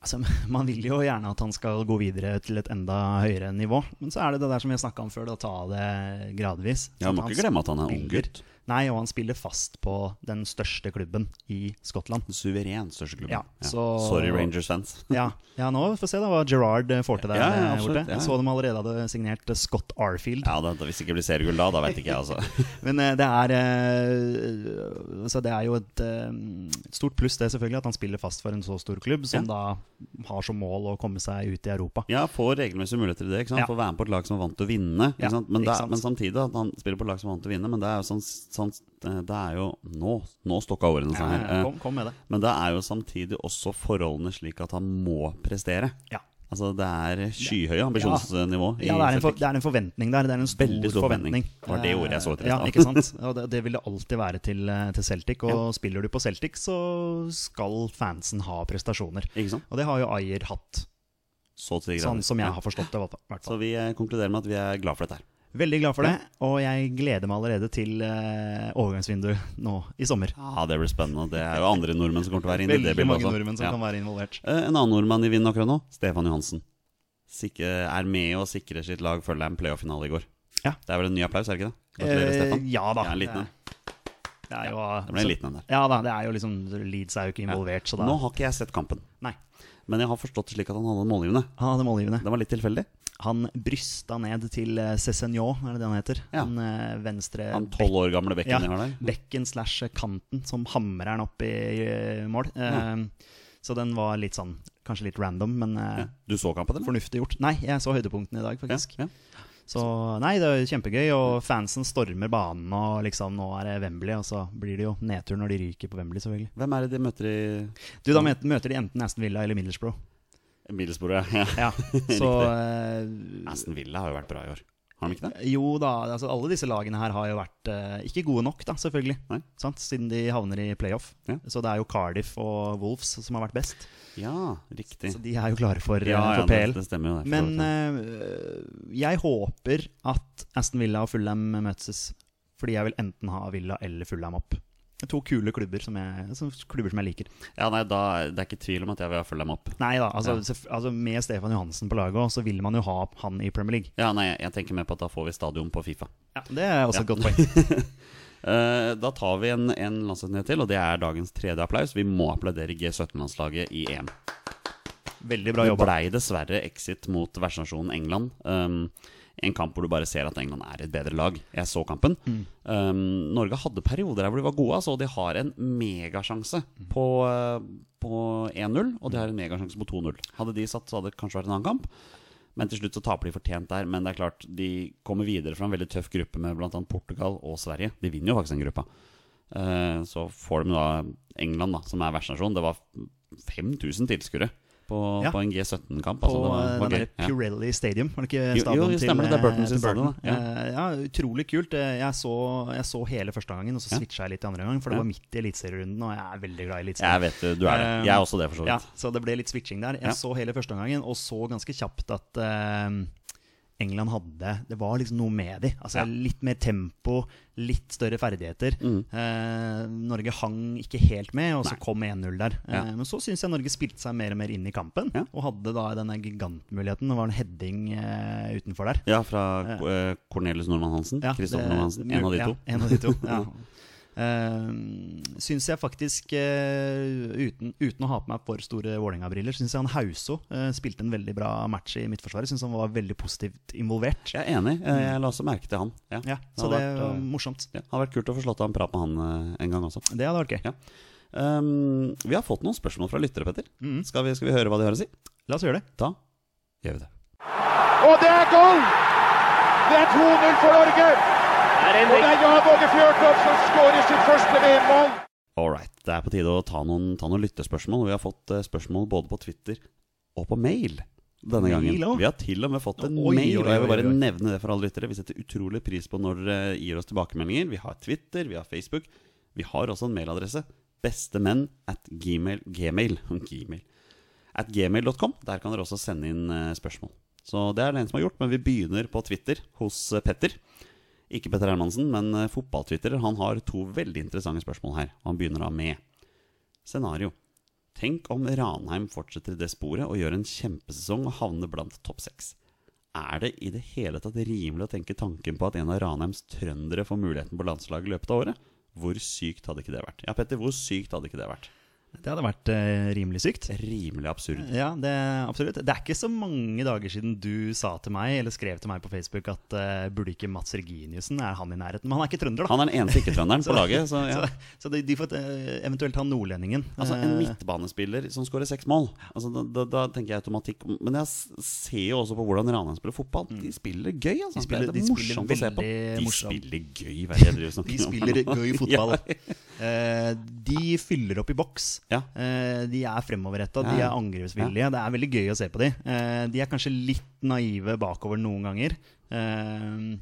[SPEAKER 3] Altså, man vil jo gjerne at han skal gå videre til et enda høyere nivå. Men så er det det der som vi har snakka om før, da, ta det gradvis.
[SPEAKER 2] Ja, Må
[SPEAKER 3] Sånn at
[SPEAKER 2] ikke
[SPEAKER 3] han
[SPEAKER 2] glemme at han er ung
[SPEAKER 3] spiller-
[SPEAKER 2] gutt.
[SPEAKER 3] Nei, og han spiller fast på den største klubben i Skottland.
[SPEAKER 2] Den suveren største klubben.
[SPEAKER 3] Ja, så-
[SPEAKER 2] Sorry, Rangers-fans.
[SPEAKER 3] Ja, ja nå får vi se da hva Gerard får til der
[SPEAKER 2] Ja, ja,
[SPEAKER 3] eh,
[SPEAKER 2] absolutt,
[SPEAKER 3] borte.
[SPEAKER 2] ja.
[SPEAKER 3] Jeg så de allerede hadde signert eh, Scott Arfield.
[SPEAKER 2] Ja, da, da, Hvis det ikke blir seriegull da, da veit ikke jeg, altså.
[SPEAKER 3] Men eh, det er eh, Så det er jo et, eh, et stort pluss, det selvfølgelig, at han spiller fast for en så stor klubb, som da har som mål å komme seg ut i Europa.
[SPEAKER 2] Ja, Får regelmessige muligheter til det. ikke sant?
[SPEAKER 3] Ja.
[SPEAKER 2] Får være med på et lag som er vant til å vinne. ikke
[SPEAKER 3] Ja,
[SPEAKER 2] sant? Men,
[SPEAKER 3] ikke
[SPEAKER 2] det, er-
[SPEAKER 3] sant.
[SPEAKER 2] men samtidig at han spiller på et lag som er vant til å vinne. Men det er jo sånn, sånn eh, Det er jo Nå, nå stokka årene seg her. eh,
[SPEAKER 3] kom, kom med det.
[SPEAKER 2] Men det er jo samtidig også forholdene slik at han må prestere.
[SPEAKER 3] Ja.
[SPEAKER 2] Altså det er skyhøye ambisjonsnivå. i
[SPEAKER 3] Ja, det er, en for,
[SPEAKER 2] Celtic.
[SPEAKER 3] det er en forventning der. Det er en stor,
[SPEAKER 2] Veldig stor forventning.
[SPEAKER 3] forventning. Eh,
[SPEAKER 2] Det var det ordet jeg så etter i
[SPEAKER 3] Ja,
[SPEAKER 2] stad.
[SPEAKER 3] ikke sant? Og det, det vil det alltid være til, eh, til Celtic. Og spiller du på Celtic, så skal fansen ha prestasjoner.
[SPEAKER 2] Ikke sant?
[SPEAKER 3] Og det har jo Ayer hatt,
[SPEAKER 2] Så til de grader.
[SPEAKER 3] sånn som jeg
[SPEAKER 2] Ja.
[SPEAKER 3] har forstått det. i hvert fall.
[SPEAKER 2] Så vi eh, konkluderer med at vi er glad for dette her.
[SPEAKER 3] Veldig glad for det, og jeg gleder meg allerede til eh, overgangsvinduet nå i sommer.
[SPEAKER 2] Ja, Det blir spennende. Det er jo andre nordmenn som kommer til å være inne i
[SPEAKER 3] Veldig
[SPEAKER 2] det bildet
[SPEAKER 3] mange
[SPEAKER 2] også.
[SPEAKER 3] nordmenn som
[SPEAKER 2] Ja.
[SPEAKER 3] kan være involvert.
[SPEAKER 2] Eh, En annen nordmann i vinden akkurat nå, Stefan Johansen. Sikke, er med og sikrer sitt lag følger en playoff-finale i går.
[SPEAKER 3] Ja. Eh,
[SPEAKER 2] Det er vel en ny applaus, er det ikke det? Gratulerer, Stefan.
[SPEAKER 3] ja da.
[SPEAKER 2] Ja, en liten en.
[SPEAKER 3] Det er jo, eh,
[SPEAKER 2] Det ble en liten en der.
[SPEAKER 3] Ja da, det er jo liksom Leeds er jo ikke involvert, så da
[SPEAKER 2] Nå har ikke jeg sett kampen,
[SPEAKER 3] Nei.
[SPEAKER 2] men jeg har forstått det slik at han hadde en målgivende.
[SPEAKER 3] Han hadde målgivende.
[SPEAKER 2] Den var litt tilfeldig.
[SPEAKER 3] Han brysta ned til eh, Cézinho, er det det han heter?
[SPEAKER 2] Ja.
[SPEAKER 3] Den eh, venstre
[SPEAKER 2] Han tolv år gamle bekken
[SPEAKER 3] Ja,
[SPEAKER 2] jeg har der.
[SPEAKER 3] bekken slash eh, kanten som hamrer han opp i eh, mål. Eh, Så den var litt sånn, kanskje litt random, men eh,
[SPEAKER 2] Ja. Du så kampen, eller?
[SPEAKER 3] fornuftig gjort. Nei, jeg så høydepunktene i dag,
[SPEAKER 2] Ja,
[SPEAKER 3] faktisk.
[SPEAKER 2] ja.
[SPEAKER 3] Så nei, det er kjempegøy, og fansen stormer banen, og liksom nå er det Wembley, og så blir det jo nedtur når de ryker på Wembley, selvfølgelig.
[SPEAKER 2] Hvem er det de møter i
[SPEAKER 3] Du, da møter møter de enten Aston Villa eller Middlesbrough.
[SPEAKER 2] Middlesbrough? Ja.
[SPEAKER 3] Ja, så eh,
[SPEAKER 2] Aston Villa har jo vært bra i år. Har de ikke det?
[SPEAKER 3] Jo da, altså alle disse lagene her har jo vært eh, ikke gode nok, da, selvfølgelig.
[SPEAKER 2] Nei.
[SPEAKER 3] Sant? Siden de havner i playoff.
[SPEAKER 2] Ja.
[SPEAKER 3] Så det er jo Cardiff og Wolves som har vært best.
[SPEAKER 2] Ja, riktig.
[SPEAKER 3] Så de er jo klare for, eh,
[SPEAKER 2] Ja, ja,
[SPEAKER 3] for
[SPEAKER 2] det,
[SPEAKER 3] PL.
[SPEAKER 2] det stemmer jo. det, for
[SPEAKER 3] Men
[SPEAKER 2] så vidt, ja.
[SPEAKER 3] eh, jeg håper at Aston Villa og Fulham møtes. Fordi jeg vil enten ha Villa eller Fulham opp. Det er To kule klubber som jeg, som, klubber som jeg liker.
[SPEAKER 2] ja, nei, da, det er ikke tvil om at jeg vil følge dem opp.
[SPEAKER 3] Nei da, altså,
[SPEAKER 2] Ja.
[SPEAKER 3] selvf- altså med Stefan Johansen på laget også, så vil man jo ha han i Premier League.
[SPEAKER 2] Ja, nei, jeg tenker mer på at da får vi stadion på Fifa.
[SPEAKER 3] Det er også
[SPEAKER 2] Ja.
[SPEAKER 3] et godt poeng.
[SPEAKER 2] Eh, da tar vi en, en landslagsnyhet til, og det er dagens tredje applaus. Vi må applaudere G17-landslaget i EM.
[SPEAKER 3] Veldig bra
[SPEAKER 2] Det
[SPEAKER 3] jobba.
[SPEAKER 2] blei dessverre exit mot vertsnasjonen England. Um, en kamp hvor du bare ser at England er et bedre lag. Jeg så kampen.
[SPEAKER 3] Mm.
[SPEAKER 2] Um, Norge hadde perioder her hvor de var gode, altså, og de har en megasjanse
[SPEAKER 3] Mm.
[SPEAKER 2] på, eh, på 1-0. Og de har en megasjanse på 2-0. Hadde de satt, så hadde det kanskje vært en annen kamp. Men til slutt så taper de fortjent der. Men det er klart, de kommer videre fra en veldig tøff gruppe med bl.a. Portugal og Sverige. De vinner jo faktisk den gruppa. Eh, så får de da England, da, som er vertsnasjon. Det var 5000 tilskuere på,
[SPEAKER 3] Ja.
[SPEAKER 2] på en G17-kamp.
[SPEAKER 3] På
[SPEAKER 2] Altså, det var,
[SPEAKER 3] eh,
[SPEAKER 2] var
[SPEAKER 3] den
[SPEAKER 2] gøy.
[SPEAKER 3] der Purelli Stadium, var det ikke
[SPEAKER 2] Jo,
[SPEAKER 3] stadion
[SPEAKER 2] jo,
[SPEAKER 3] til
[SPEAKER 2] stemmer det, det er
[SPEAKER 3] eh,
[SPEAKER 2] Burton sin
[SPEAKER 3] til
[SPEAKER 2] stadion, da. Ja.
[SPEAKER 3] Eh, Ja, utrolig kult. Eh, Jeg så, jeg så hele første gangen, og så
[SPEAKER 2] Ja.
[SPEAKER 3] switcha jeg litt i andre gang, for det
[SPEAKER 2] Ja.
[SPEAKER 3] var midt i eliteserierunden, og jeg er veldig glad i
[SPEAKER 2] Ja. Jeg
[SPEAKER 3] eliteserien.
[SPEAKER 2] vet du er det. Jeg er også det, for
[SPEAKER 3] Eh,
[SPEAKER 2] så
[SPEAKER 3] Ja,
[SPEAKER 2] vidt.
[SPEAKER 3] så det ble litt switching der. Jeg
[SPEAKER 2] Ja.
[SPEAKER 3] så hele første gangen, og så ganske kjapt at eh, England hadde Det var liksom noe med de. Altså
[SPEAKER 2] Ja. Mm.
[SPEAKER 3] Litt mer tempo, litt større ferdigheter. Eh, Norge hang ikke helt med, og så
[SPEAKER 2] Nei.
[SPEAKER 3] kom 1-0 der. Eh,
[SPEAKER 2] Ja.
[SPEAKER 3] Men så syns jeg Norge spilte seg mer og mer inn i kampen,
[SPEAKER 2] Ja.
[SPEAKER 3] og hadde da denne gigantmuligheten. Det var en heading eh, utenfor der.
[SPEAKER 2] Ja, fra eh, Cornelius Normann Hansen.
[SPEAKER 3] Ja,
[SPEAKER 2] Kristoffer
[SPEAKER 3] det-
[SPEAKER 2] Normann Hansen. En av de
[SPEAKER 3] ja,
[SPEAKER 2] to.
[SPEAKER 3] en av de to, ja. Uh, syns jeg faktisk, eh, uten, uten å ha på meg for store Vålerenga-briller, syns jeg han Hauso eh, spilte en veldig bra match i Midtforsvaret. Syns han var veldig positivt involvert.
[SPEAKER 2] Jeg er enig. Eh, Jeg la også merke til han. Ja.
[SPEAKER 3] Mm. Ja,
[SPEAKER 2] Det
[SPEAKER 3] så
[SPEAKER 2] hadde
[SPEAKER 3] det
[SPEAKER 2] vært,
[SPEAKER 3] var
[SPEAKER 2] eh,
[SPEAKER 3] morsomt.
[SPEAKER 2] Ja, det hadde vært kult å få slått av en prat med han eh, en gang også.
[SPEAKER 3] Det hadde vært gøy.
[SPEAKER 2] Ja. Um, vi har fått noen spørsmål fra lyttere, Petter.
[SPEAKER 3] Mm.
[SPEAKER 2] Skal, vi, skal vi høre hva de har å si?
[SPEAKER 3] La oss gjøre det.
[SPEAKER 2] Da gjør vi det.
[SPEAKER 4] Og det er goal! Det er 2-0 for Norge. Og det er Jan Åge Fjørtoft som skårer sitt første VM-mål.
[SPEAKER 2] All right. Det er på tide å ta noen, ta noen lytterspørsmål. Vi har fått eh, spørsmål både på Twitter og på mail denne gangen.
[SPEAKER 3] Mail også?
[SPEAKER 2] Vi har til og med fått en
[SPEAKER 3] Oi,
[SPEAKER 2] mail,
[SPEAKER 3] oi,
[SPEAKER 2] og jeg vil
[SPEAKER 3] oi,
[SPEAKER 2] bare
[SPEAKER 3] oi.
[SPEAKER 2] nevne det for alle lyttere. Vi setter utrolig pris på når dere gir oss tilbakemeldinger. Vi har Twitter, vi har Facebook. Vi har også en mailadresse. Bestemenn at gmail, gmail, gmail at gmail.com. Der kan dere også sende inn eh, spørsmål. Så det er det en som har gjort, men vi begynner på Twitter hos eh, Petter. Ikke Petter Hermansen, men eh, fotballtwitterer. Han har to veldig interessante spørsmål her. og Han begynner da med scenario. Tenk om Ranheim fortsetter i det sporet og gjør en kjempesesong og havner blant topp seks. Er det i det hele tatt rimelig å tenke tanken på at en av Ranheims trøndere får muligheten på landslaget i løpet av året? Hvor sykt hadde ikke det vært? Ja, Petter, hvor sykt hadde ikke det vært?
[SPEAKER 3] Det hadde vært eh, rimelig sykt.
[SPEAKER 2] Rimelig absurd.
[SPEAKER 3] Ja, det, absolutt. Det er ikke så mange dager siden du sa til meg, eller skrev til meg på Facebook, at eh, burde ikke Mats Reginiussen Er han i nærheten? Men han er ikke trønder, da.
[SPEAKER 2] Han er den eneste ikke-trønderen på laget. Så, ja.
[SPEAKER 3] Så, så de, de får eh, eventuelt ta nordlendingen.
[SPEAKER 2] Altså En
[SPEAKER 3] Eh,
[SPEAKER 2] midtbanespiller som skårer seks mål. Altså da, da, da tenker jeg automatikk Men jeg s- ser jo også på hvordan Ranheim spiller fotball. De spiller gøy, altså.
[SPEAKER 3] Mm. De spiller-
[SPEAKER 2] det er
[SPEAKER 3] de spiller
[SPEAKER 2] morsomt å se på.
[SPEAKER 3] veldig
[SPEAKER 2] De
[SPEAKER 3] morsomt.
[SPEAKER 2] spiller gøy, hva er
[SPEAKER 3] Eh,
[SPEAKER 2] det jeg driver og
[SPEAKER 3] De
[SPEAKER 2] snakker om?
[SPEAKER 3] spiller gøy fotball. Eh, de fyller opp i boks.
[SPEAKER 2] Ja.
[SPEAKER 3] Eh, de er fremoverretta, de
[SPEAKER 2] Ja.
[SPEAKER 3] er angrepsvillige. Det er veldig gøy å se på de. Eh, de er kanskje litt naive bakover noen ganger. Eh,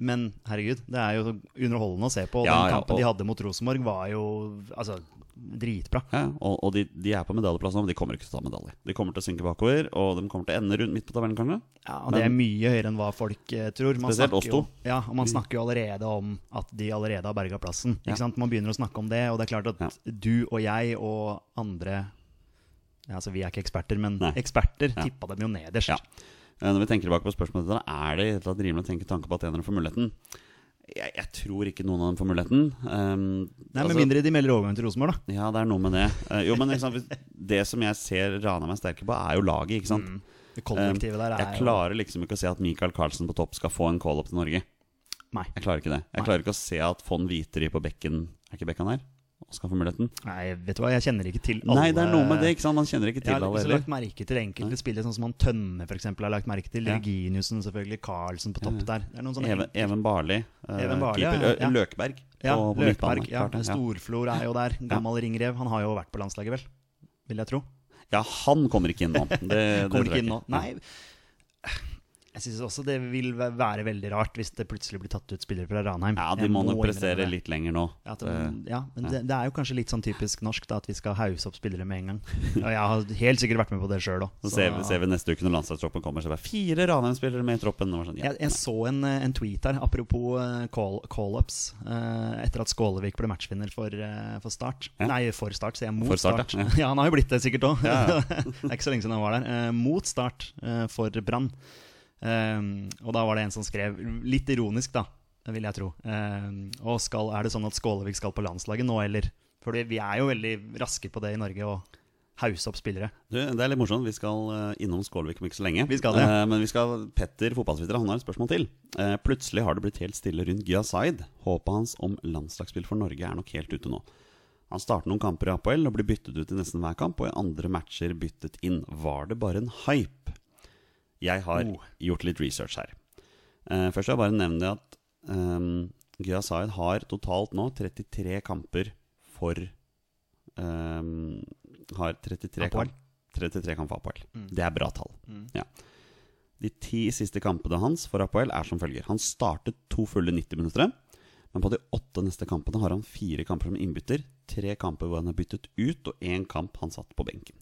[SPEAKER 3] men herregud, det er jo så underholdende å se på. Og
[SPEAKER 2] Ja,
[SPEAKER 3] den
[SPEAKER 2] ja,
[SPEAKER 3] kampen
[SPEAKER 2] og-
[SPEAKER 3] de hadde mot Rosenborg, var jo altså, dritbra.
[SPEAKER 2] Ja, og og de, de er på medaljeplass nå, men de kommer ikke til å ta medalje. De kommer til å synke bakover, og de kommer til å ende rundt midt på tabellen, kanskje.
[SPEAKER 3] Ja, og Det er mye høyere enn hva folk eh, tror. Man
[SPEAKER 2] Spesielt
[SPEAKER 3] snakker
[SPEAKER 2] oss to.
[SPEAKER 3] jo- Ja, og Man snakker jo allerede om at de allerede har berga plassen. Ikke
[SPEAKER 2] Ja.
[SPEAKER 3] sant? Man begynner å snakke om det, og det er klart at du og jeg og andre ja, altså Vi er ikke eksperter, men
[SPEAKER 2] Nei.
[SPEAKER 3] eksperter tippa dem jo nederst.
[SPEAKER 2] Ja. Eh, Når vi tenker tilbake på spørsmålet ditt, er det i det hele tatt rimelig å tenke tanke på at enere får muligheten? Jeg, jeg tror ikke noen av dem får muligheten. Um,
[SPEAKER 3] Nei, Med
[SPEAKER 2] altså-
[SPEAKER 3] mindre de melder overgang til Rosenborg, da.
[SPEAKER 2] Ja, det er noe med det. Eh, jo, men ikke sant, hvis- Det som jeg ser Ranheim er sterke på, er jo laget, ikke sant.
[SPEAKER 3] Mm, Det
[SPEAKER 2] Eh,
[SPEAKER 3] kollektivet der er
[SPEAKER 2] jeg klarer liksom ikke å se at Michael Carlsen på topp skal få en call-up til Norge.
[SPEAKER 3] jo Nei.
[SPEAKER 2] Jeg klarer ikke det. Jeg
[SPEAKER 3] Nei.
[SPEAKER 2] klarer ikke å se at von Viteri på bekken Er ikke bekken her? Og skal få muligheten?
[SPEAKER 3] Nei, vet du hva, jeg kjenner ikke til alle
[SPEAKER 2] Nei, det er noe med det, ikke sant? Man kjenner ikke
[SPEAKER 3] Jeg
[SPEAKER 2] til
[SPEAKER 3] har
[SPEAKER 2] alle
[SPEAKER 3] ikke så
[SPEAKER 2] heller.
[SPEAKER 3] lagt merke til enkelte spillere, sånn som han Tønne for eksempel, har lagt merke til.
[SPEAKER 2] Ja.
[SPEAKER 3] Reginiussen, selvfølgelig. Carlsen på topp der. Det er noen sånne
[SPEAKER 2] Even, Even Barli, eh,
[SPEAKER 3] Sånn Even Barli,
[SPEAKER 2] keeper.
[SPEAKER 3] ja, ja.
[SPEAKER 2] Ø- Løkberg
[SPEAKER 3] Ja,
[SPEAKER 2] på, på midtbanen.
[SPEAKER 3] Løkberg. Ja.
[SPEAKER 2] klart det, ja.
[SPEAKER 3] Storflor er jo der. Gammel ringrev. Han har jo vært på landslaget, vel? Vil jeg tro.
[SPEAKER 2] ja, han kommer ikke inn nå. Det, det tror
[SPEAKER 3] Kommer
[SPEAKER 2] jeg
[SPEAKER 3] ikke inn nå. Nei. Jeg syns også det vil væ- være veldig rart hvis det plutselig blir tatt ut spillere fra Ranheim.
[SPEAKER 2] Ja, de
[SPEAKER 3] Jeg
[SPEAKER 2] må nok
[SPEAKER 3] innrømme
[SPEAKER 2] prestere
[SPEAKER 3] det.
[SPEAKER 2] litt eh, lenger nå.
[SPEAKER 3] At, mm, ja, men det, det er jo kanskje litt sånn typisk norsk da, at vi skal hause opp spillere med en gang. Og jeg har helt sikkert vært med på det sjøl òg.
[SPEAKER 2] Så ser vi, ser vi neste uke når landslagstroppen kommer, så er det bare fire Ranheim-spillere med i troppen. Og bare sånn, ja.
[SPEAKER 3] Jeg, jeg så en, eh, en tweet her, apropos eh, call- call-ups. eh, etter at Skålevik ble matchvinner for, eh, for Start.
[SPEAKER 2] Ja.
[SPEAKER 3] Nei, for Start, sier jeg. Mot
[SPEAKER 2] For Start,
[SPEAKER 3] Start.
[SPEAKER 2] ja.
[SPEAKER 3] Ja. han har jo blitt det sikkert òg.
[SPEAKER 2] Ja,
[SPEAKER 3] det er ikke så lenge siden han var der. Eh, mot Start eh, for Brann. Eh, og da var det en som skrev, litt ironisk da, vil jeg tro eh, Og skal, er det sånn at Skålevik skal på landslaget nå, eller? For vi er jo veldig raske på det i Norge, å hause opp spillere.
[SPEAKER 2] Du, det er litt morsomt. Vi skal eh, innom Skålevik om ikke så lenge.
[SPEAKER 3] Vi skal det.
[SPEAKER 2] Eh, men vi skal Petter, fotballsvitter, han har et spørsmål til. Eh, plutselig har det blitt helt stille rundt Gya Zaid. Håpet hans om landslagsspill for Norge er nok helt ute nå. Han starter noen kamper i APL og blir byttet ut i nesten hver kamp, og i andre matcher byttet inn. Var det bare en hype? Jeg har
[SPEAKER 3] Oh.
[SPEAKER 2] gjort litt research her. Eh, først vil jeg bare nevne det at um, Gya Zaid har totalt nå 33 kamper for ehm, Har 33
[SPEAKER 3] APL.
[SPEAKER 2] kamp, 33 kamp for APL. Det er bra tall. Ja. De ti siste kampene hans for APL er som følger. Han startet to fulle 90 minutter. Men på de åtte neste kampene har han fire kamper som innbytter. Tre kamper hvor han er byttet ut, og én kamp han satt på benken.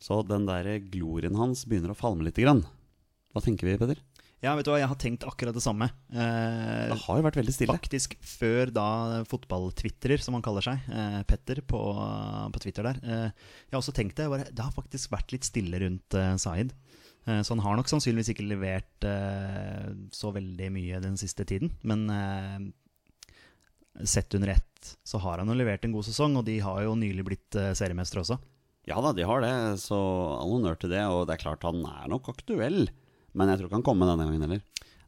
[SPEAKER 2] Så den der glorien hans begynner å falme lite grann. Hva tenker vi, Peder?
[SPEAKER 3] Ja, vet du hva, jeg har tenkt akkurat det samme. Eh,
[SPEAKER 2] Det har jo vært veldig stille.
[SPEAKER 3] Faktisk før da fotballtvitrer, som han kaller seg, eh, Petter på, på Twitter der. Eh, jeg har også tenkt det. Bare, det har faktisk vært litt stille rundt eh, Zaid. Eh, så han har nok sannsynligvis ikke levert eh, så veldig mye den siste tiden. Men eh, sett under ett så har han jo levert en god sesong, og de har jo nylig blitt eh, seriemestere også.
[SPEAKER 2] Ja da, de har det, så all honnør til det. Og det er klart han er nok aktuell, men jeg tror ikke han kommer denne gangen heller.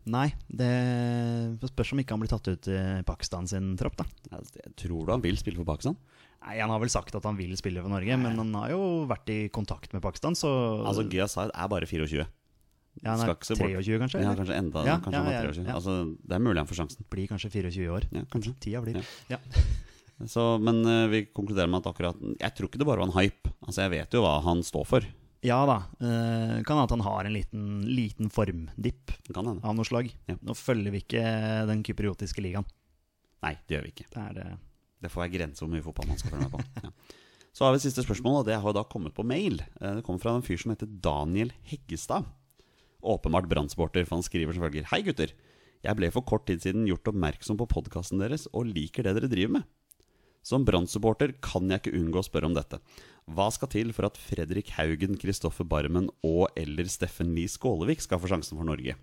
[SPEAKER 3] Nei, det spørs om ikke han blir tatt ut i Pakistan sin tropp, da.
[SPEAKER 2] Altså, Jeg tror du han vil spille for Pakistan?
[SPEAKER 3] Nei, Han har vel sagt at han vil spille for Norge, men han har jo vært i kontakt med Pakistan, så
[SPEAKER 2] Altså, Gya Zaid er bare 24.
[SPEAKER 3] ja, Han
[SPEAKER 2] skal
[SPEAKER 3] er
[SPEAKER 2] ikke se bort-
[SPEAKER 3] 23, kanskje?
[SPEAKER 2] Ja,
[SPEAKER 3] eller?
[SPEAKER 2] kanskje enda
[SPEAKER 3] Ja,
[SPEAKER 2] kanskje
[SPEAKER 3] ja,
[SPEAKER 2] han er
[SPEAKER 3] ja,
[SPEAKER 2] 23.
[SPEAKER 3] ja.
[SPEAKER 2] Altså, det er mulig han får sjansen.
[SPEAKER 3] Blir kanskje 24 i år.
[SPEAKER 2] Ja, kanskje.
[SPEAKER 3] Tida blir. Ja.
[SPEAKER 2] Så, men eh, vi konkluderer med at akkurat Jeg tror ikke det bare var en hype. Altså, Jeg vet jo hva han står for.
[SPEAKER 3] ja da. eh, Kan hende at han har en liten, liten formdipp
[SPEAKER 2] Det Kan hende.
[SPEAKER 3] av noe slag.
[SPEAKER 2] Ja.
[SPEAKER 3] Nå følger vi ikke den kypriotiske ligaen.
[SPEAKER 2] Nei, det gjør vi ikke.
[SPEAKER 3] Det er eh, det.
[SPEAKER 2] Det får være grenser hvor mye fotball man skal følge med på. Ja. Så har vi siste spørsmål, og det har jo da kommet på mail. Eh, Det kommer fra en fyr som heter Daniel Heggestad. Åpenbart brannsporter, for han skriver som følger. Hei, gutter. Jeg ble for kort tid siden gjort oppmerksom på podkasten deres og liker det dere driver med. Som Brann-supporter kan jeg ikke unngå å spørre om dette. Hva skal til for at Fredrik Haugen, Kristoffer Barmen og eller Steffen Lie Skålevik skal få sjansen for Norge?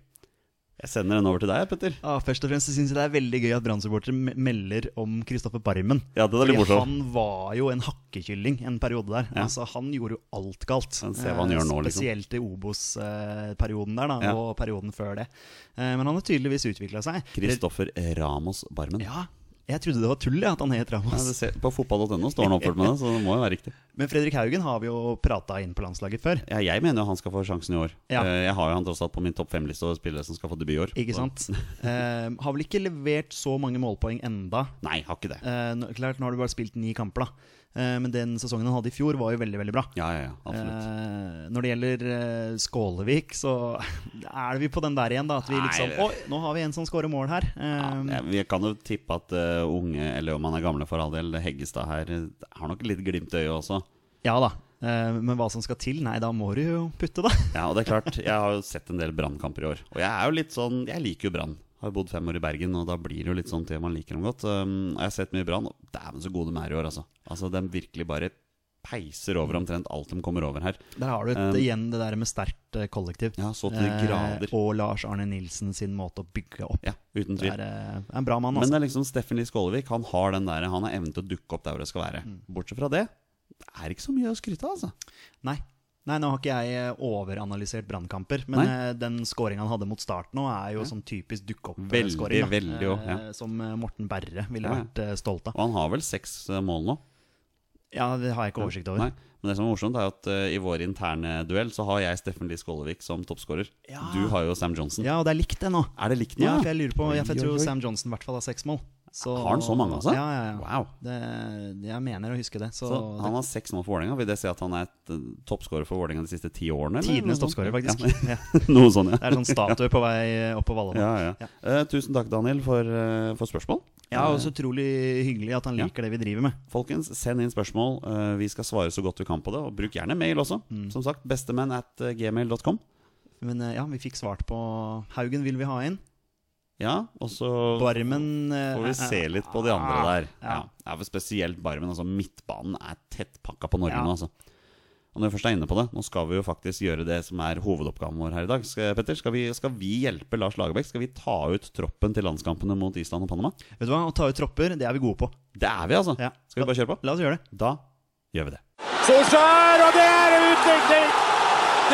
[SPEAKER 2] Jeg sender den over til deg, Petter.
[SPEAKER 3] Ja, først og fremst syns jeg det er veldig gøy at Brann-supportere me- melder om Kristoffer Barmen.
[SPEAKER 2] Ja, det er litt
[SPEAKER 3] Fordi
[SPEAKER 2] morsomt.
[SPEAKER 3] Han var jo en hakkekylling en periode der. Altså, han gjorde jo alt galt.
[SPEAKER 2] Men se hva han
[SPEAKER 3] Eh,
[SPEAKER 2] gjør nå, liksom.
[SPEAKER 3] Spesielt i Obos-perioden der, da,
[SPEAKER 2] Ja.
[SPEAKER 3] og perioden før det. Eh, Men han har tydeligvis utvikla seg.
[SPEAKER 2] Kristoffer Ramos Barmen.
[SPEAKER 3] Ja, jeg trodde det var tull, jeg, at han het Ramos.
[SPEAKER 2] Ja, det ser, på fotball.no står han oppført med det, så det må jo være riktig.
[SPEAKER 3] Men Fredrik Haugen har vi jo prata inn på landslaget før.
[SPEAKER 2] Ja, jeg mener jo han skal få sjansen i år.
[SPEAKER 3] Ja.
[SPEAKER 2] Eh, Jeg har jo han tross alt på min topp fem-liste over spillere som skal få debut i år.
[SPEAKER 3] Ikke sant? Eh, har vel ikke levert så mange målpoeng enda.
[SPEAKER 2] Nei, har ikke det.
[SPEAKER 3] Eh, nå- klart, nå har du bare spilt ni kamper, da. Eh, men den sesongen han hadde i fjor, var jo veldig, veldig bra.
[SPEAKER 2] Ja, ja, ja, absolutt.
[SPEAKER 3] Eh, når det gjelder eh, Skålevik, så er vi på den der igjen, da. At vi
[SPEAKER 2] Nei,
[SPEAKER 3] liksom
[SPEAKER 2] det-
[SPEAKER 3] Oi, nå har vi en som scorer mål her. Eh,
[SPEAKER 2] Ja, vi kan jo tippe at eh, unge, eller om han er gamle for all del, Heggestad her eh, har nok litt glimt i øyet også.
[SPEAKER 3] ja da. Eh, men hva som skal til? Nei, da må du jo putte, da.
[SPEAKER 2] Ja, og det er klart, jeg har jo sett en del brannkamper i år. Og jeg er jo litt sånn, jeg liker jo brann. Har jo bodd fem år i Bergen, og da blir det jo litt sånn til man liker dem godt. Um, og jeg har sett mye brann, og dæven så gode de er i år, altså. Altså, de virkelig bare peiser over omtrent alt de kommer over her.
[SPEAKER 3] Der har du et,
[SPEAKER 2] Um,
[SPEAKER 3] igjen det der med sterkt eh, kollektiv.
[SPEAKER 2] Ja, så til de
[SPEAKER 3] Eh,
[SPEAKER 2] grader.
[SPEAKER 3] og Lars Arne Nilsen sin måte å bygge opp.
[SPEAKER 2] Ja, uten
[SPEAKER 3] Det
[SPEAKER 2] tvil.
[SPEAKER 3] er eh, en bra mann,
[SPEAKER 2] Men
[SPEAKER 3] altså.
[SPEAKER 2] det er liksom Steffen Lie Skålevik han har den der, han har evnen til å dukke opp der hvor det skal være.
[SPEAKER 3] Mm.
[SPEAKER 2] Bortsett fra det, det er ikke så mye å skryte av, altså.
[SPEAKER 3] Nei. Nei, nå har ikke jeg eh, overanalysert brannkamper, men
[SPEAKER 2] Nei.
[SPEAKER 3] eh, den scoringen han hadde mot start nå, er jo sånn typisk
[SPEAKER 2] Veldig,
[SPEAKER 3] dukke-opp-scoring.
[SPEAKER 2] veldig jo, ja.
[SPEAKER 3] Som eh, Morten Berre ville
[SPEAKER 2] Ja, ja.
[SPEAKER 3] vært eh, stolt av.
[SPEAKER 2] Og han har vel seks eh, mål nå.
[SPEAKER 3] Ja, det har jeg ikke oversikt over.
[SPEAKER 2] Nei. Men det som er morsomt, er at eh, i vår interne duell så har jeg Steffen Lie Skålevik som toppskårer.
[SPEAKER 3] Ja.
[SPEAKER 2] Du har jo Sam Johnson.
[SPEAKER 3] Ja, og det er likt det nå.
[SPEAKER 2] Er det likt nå?
[SPEAKER 3] Ja, for
[SPEAKER 2] ja?
[SPEAKER 3] jeg lurer på Jeg,
[SPEAKER 2] Oi,
[SPEAKER 3] jeg tror
[SPEAKER 2] oi, oi.
[SPEAKER 3] Sam Johnson i hvert fall har seks mål. Så-
[SPEAKER 2] Har han så mange, altså?
[SPEAKER 3] Ja, ja, ja.
[SPEAKER 2] Wow.
[SPEAKER 3] Det, jeg mener å huske det. Så,
[SPEAKER 2] Så han har seks mål for Vålerenga. Vil det si at han er et, eh, toppskårer for Vålerenga de siste ti årene? eller?
[SPEAKER 3] tidenes toppskårer, faktisk.
[SPEAKER 2] eh, Ja,
[SPEAKER 3] Ja.
[SPEAKER 2] noe sånt,
[SPEAKER 3] Det
[SPEAKER 2] ja.
[SPEAKER 3] er sånn statue på vei opp på Vallamann.
[SPEAKER 2] ja, ja. Eh, tusen takk, Daniel, for, eh, for spørsmål.
[SPEAKER 3] Ja, og så utrolig hyggelig at han
[SPEAKER 2] Ja.
[SPEAKER 3] liker det vi driver med.
[SPEAKER 2] Folkens, send inn spørsmål. Eh, Vi skal svare så godt vi kan på det. Og bruk gjerne mail også.
[SPEAKER 3] Mm.
[SPEAKER 2] Som sagt, bestemenn at eh, gmail.com.
[SPEAKER 3] Men eh, ja, vi fikk svart på Haugen vil vi ha inn.
[SPEAKER 2] Ja, og så
[SPEAKER 3] Barmen eh,
[SPEAKER 2] får vi se litt på de andre der. Ja,
[SPEAKER 3] Ja.
[SPEAKER 2] ja for Spesielt Barmen. altså Midtbanen er tett pakka på Norge
[SPEAKER 3] Ja.
[SPEAKER 2] nå, altså. Og når vi først er inne på det, nå skal vi jo faktisk gjøre det som er hovedoppgaven vår her i dag. Skal, Petter, skal vi, skal vi hjelpe Lars Lagerbäck? Skal vi ta ut troppen til landskampene mot Island og Panama?
[SPEAKER 3] Vet du hva, å ta ut tropper, det er vi gode på.
[SPEAKER 2] Det er vi, altså.
[SPEAKER 3] Ja.
[SPEAKER 2] Skal vi bare kjøre på?
[SPEAKER 3] La oss gjøre det.
[SPEAKER 2] Da gjør vi det.
[SPEAKER 4] Solskjær, og det er utligning!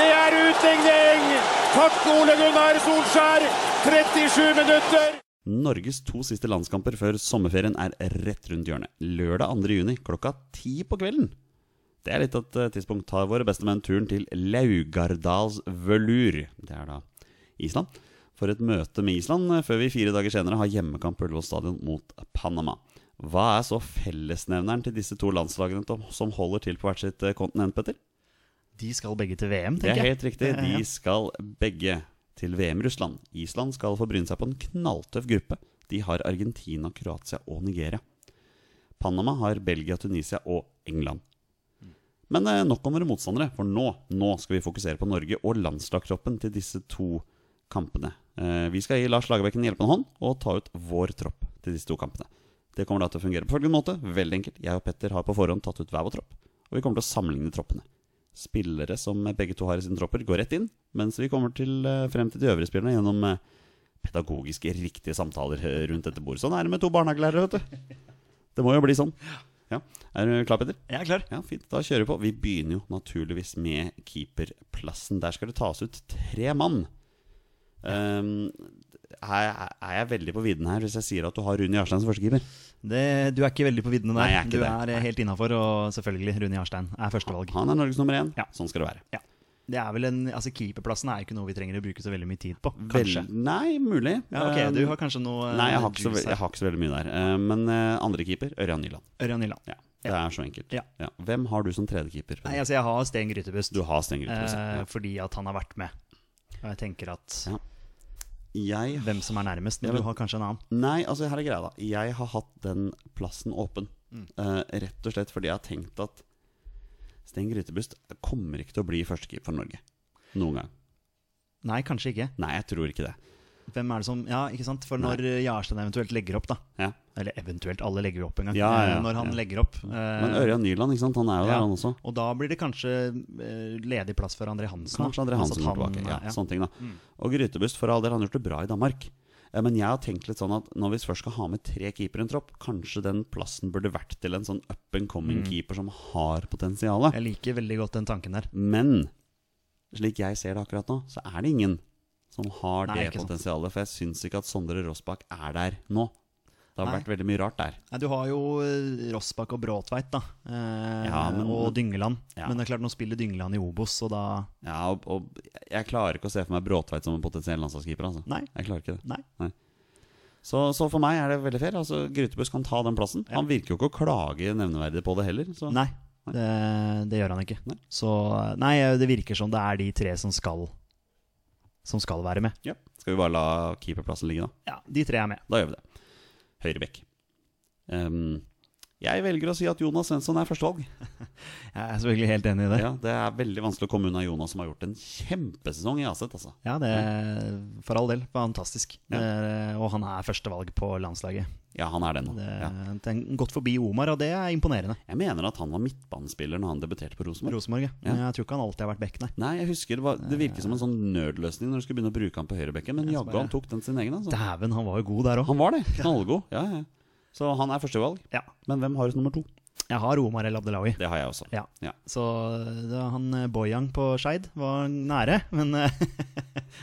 [SPEAKER 4] Det er utligning! Takk, Ole Gunnar Solskjær. 37 minutter.
[SPEAKER 2] Norges to siste landskamper før sommerferien er rett rundt hjørnet. Lørdag 2. juni klokka ti på kvelden. Det er litt av et eh, tidspunkt. Tar våre beste menn turen til Laugardals Vølur. Det er da Island. For et møte med Island eh, før vi fire dager senere har hjemmekamp på Ullevål stadion mot Panama. Hva er så fellesnevneren til disse to landslagene to- som holder til på hvert sitt eh, kontinent, Petter?
[SPEAKER 3] De skal begge til VM,
[SPEAKER 2] Det
[SPEAKER 3] tenker
[SPEAKER 2] er
[SPEAKER 3] jeg.
[SPEAKER 2] helt riktig.
[SPEAKER 3] Ja, ja, ja.
[SPEAKER 2] De skal begge til VM i Russland. Island skal få bryne seg på en knalltøff gruppe. De har Argentina, Kroatia og Nigeria. Panama har Belgia, Tunisia og England. Men eh, nok om våre motstandere, for nå, nå skal vi fokusere på Norge og landslagstroppen til disse to kampene. Eh, Vi skal gi Lars Lagerbäck en hjelpende hånd og ta ut vår tropp til disse to kampene. Det kommer da til å fungere på følgende måte. Veldig enkelt. Jeg og Petter har på forhånd tatt ut hver vår tropp, og vi kommer til å sammenligne troppene. Spillere som begge to har i sine tropper, går rett inn, mens vi kommer til, eh, frem til de øvrige spillerne gjennom eh, pedagogisk riktige samtaler eh, rundt dette bordet. Sånn er det med to barnehagelærere, vet du. Det må jo bli sånn. Ja. Er du klar, Petter?
[SPEAKER 3] Jeg er klar.
[SPEAKER 2] Ja, fint. Da kjører vi på. Vi begynner jo naturligvis med keeperplassen. Der skal det tas ut tre mann. Ehm, her er jeg veldig på vidden her hvis jeg sier at du har Rune Jarstein som førstekeeper.
[SPEAKER 3] Det, du er ikke veldig på viddene der.
[SPEAKER 2] Nei, jeg er ikke
[SPEAKER 3] du
[SPEAKER 2] det.
[SPEAKER 3] er eh, helt innafor, og selvfølgelig Rune Jarstein er førstevalg.
[SPEAKER 2] Han er Norges nummer én.
[SPEAKER 3] Ja.
[SPEAKER 2] Sånn skal det være.
[SPEAKER 3] Ja. Det er vel en, altså Keeperplassen er jo ikke noe vi trenger å bruke så veldig mye tid på. Kanskje.
[SPEAKER 2] Vel, nei, mulig.
[SPEAKER 3] Ja, ok, Du har kanskje noe
[SPEAKER 2] Ehm,
[SPEAKER 3] eh,
[SPEAKER 2] Nei, jeg har, ikke så,
[SPEAKER 3] juice
[SPEAKER 2] ve-
[SPEAKER 3] her.
[SPEAKER 2] jeg har ikke så veldig mye der. Ehm, men eh, andre keeper, Ørjan Nyland.
[SPEAKER 3] Ørjan Nyland.
[SPEAKER 2] Ja, det er så enkelt.
[SPEAKER 3] Ja.
[SPEAKER 2] Hvem har du som tredjekeeper?
[SPEAKER 3] Nei, altså, jeg har Sten Grytebust
[SPEAKER 2] Du har Stenger Uthus.
[SPEAKER 3] eh,
[SPEAKER 2] ja.
[SPEAKER 3] fordi at han har vært med. Og jeg tenker at
[SPEAKER 2] Ja. Jeg
[SPEAKER 3] hvem som er nærmest,
[SPEAKER 2] Ja,
[SPEAKER 3] men
[SPEAKER 2] men-
[SPEAKER 3] du har kanskje en annen.
[SPEAKER 2] Nei, altså her er greia da Jeg har hatt den plassen åpen
[SPEAKER 3] Mm.
[SPEAKER 2] Eh, Rett og slett fordi jeg har tenkt at Sten Grytebust kommer ikke til å bli førstekeeper for Norge Noen gang
[SPEAKER 3] Nei, kanskje ikke.
[SPEAKER 2] Nei, jeg tror ikke det
[SPEAKER 3] Hvem er det som Ja, ikke sant? For når eh, Jarstein eventuelt legger opp, da.
[SPEAKER 2] ja.
[SPEAKER 3] Eller eventuelt, alle legger jo opp en gang.
[SPEAKER 2] Ja, ja,
[SPEAKER 3] Eh, Når han
[SPEAKER 2] ja.
[SPEAKER 3] legger opp.
[SPEAKER 2] Men
[SPEAKER 3] eh,
[SPEAKER 2] Ørjan Nyland, ikke sant? Han er jo der
[SPEAKER 3] ja.
[SPEAKER 2] han også
[SPEAKER 3] Og da blir det kanskje eh, ledig plass for André Hansen. da.
[SPEAKER 2] Kanskje
[SPEAKER 3] Altså
[SPEAKER 2] André Hansen
[SPEAKER 3] at
[SPEAKER 2] går
[SPEAKER 3] han-
[SPEAKER 2] tilbake. Ja, sånn.
[SPEAKER 3] ja. Mm.
[SPEAKER 2] Sånne ting da Og Grytebust, for all del, han har gjort det bra i Danmark. Eh, Men jeg har tenkt litt sånn at når vi først skal ha med tre keepere i en tropp, kanskje den plassen burde vært til en sånn up and coming keeper som har potensial.
[SPEAKER 3] Mm. Jeg liker veldig godt den tanken der.
[SPEAKER 2] Men slik jeg ser det akkurat nå, så er det ingen som har
[SPEAKER 3] Nei,
[SPEAKER 2] det
[SPEAKER 3] ikke sant.
[SPEAKER 2] potensialet. For jeg syns ikke at Sondre Rossbakk er der nå. Det har
[SPEAKER 3] Nei.
[SPEAKER 2] vært veldig mye rart der.
[SPEAKER 3] Nei, du har jo eh, Rossbakk og Bråtveit, da. Eh,
[SPEAKER 2] Ja, men-
[SPEAKER 3] og Dyngeland.
[SPEAKER 2] Ja.
[SPEAKER 3] Men det er klart, nå spiller Dyngeland i Obos, så da
[SPEAKER 2] Ja, og, og jeg klarer ikke å se for meg Bråtveit som en potensiell landslagskeeper. Altså.
[SPEAKER 3] Nei.
[SPEAKER 2] Jeg klarer ikke det.
[SPEAKER 3] Nei.
[SPEAKER 2] Så, så for meg er det veldig fair. Altså, Grytebuss kan ta den plassen. Han virker jo ikke å klage nevneverdig på det heller. Så.
[SPEAKER 3] Nei, det, det gjør han ikke.
[SPEAKER 2] Sånn. Nei.
[SPEAKER 3] Så nei, det virker som det er de tre som skal Som skal være med.
[SPEAKER 2] Ja. Skal vi bare la keeperplassen ligge, da?
[SPEAKER 3] Ja, de tre er med.
[SPEAKER 2] Da gjør vi det. Høyrebekk. Ehm, jeg velger å si at Jonas Svensson er førstevalg.
[SPEAKER 3] Jeg er selvfølgelig helt enig i det.
[SPEAKER 2] Ja, det er veldig vanskelig å komme unna Jonas, som har gjort en kjempesesong i Aset. Altså.
[SPEAKER 3] Ja, det er for all del fantastisk.
[SPEAKER 2] Ja.
[SPEAKER 3] Det er- og han er førstevalg på landslaget.
[SPEAKER 2] Ja, han er det nå.
[SPEAKER 3] Det,
[SPEAKER 2] Ja.
[SPEAKER 3] den- Eh, Gått forbi Omar, og det er imponerende.
[SPEAKER 2] Jeg mener at han var midtbanespiller når han debuterte på Rosenborg.
[SPEAKER 3] Rosenborg, ja. Men jeg tror ikke han alltid har vært back, nei.
[SPEAKER 2] Nei, jeg husker det, var, det virket som en sånn nerdløsning når du skulle begynne å bruke han på høyrebekken, men jaggu han tok den sin egen. Altså.
[SPEAKER 3] Dæven, han var jo god der òg.
[SPEAKER 2] Han var det. Knallgod. Ja, ja. Så han er førstevalg.
[SPEAKER 3] Ja.
[SPEAKER 2] Men hvem har et nummer to?
[SPEAKER 3] Jeg har Omar El Abdelawi.
[SPEAKER 2] Det har jeg også.
[SPEAKER 3] Ja.
[SPEAKER 2] Ja.
[SPEAKER 3] Så da han eh, Boyang på Skeid var nære, men eh,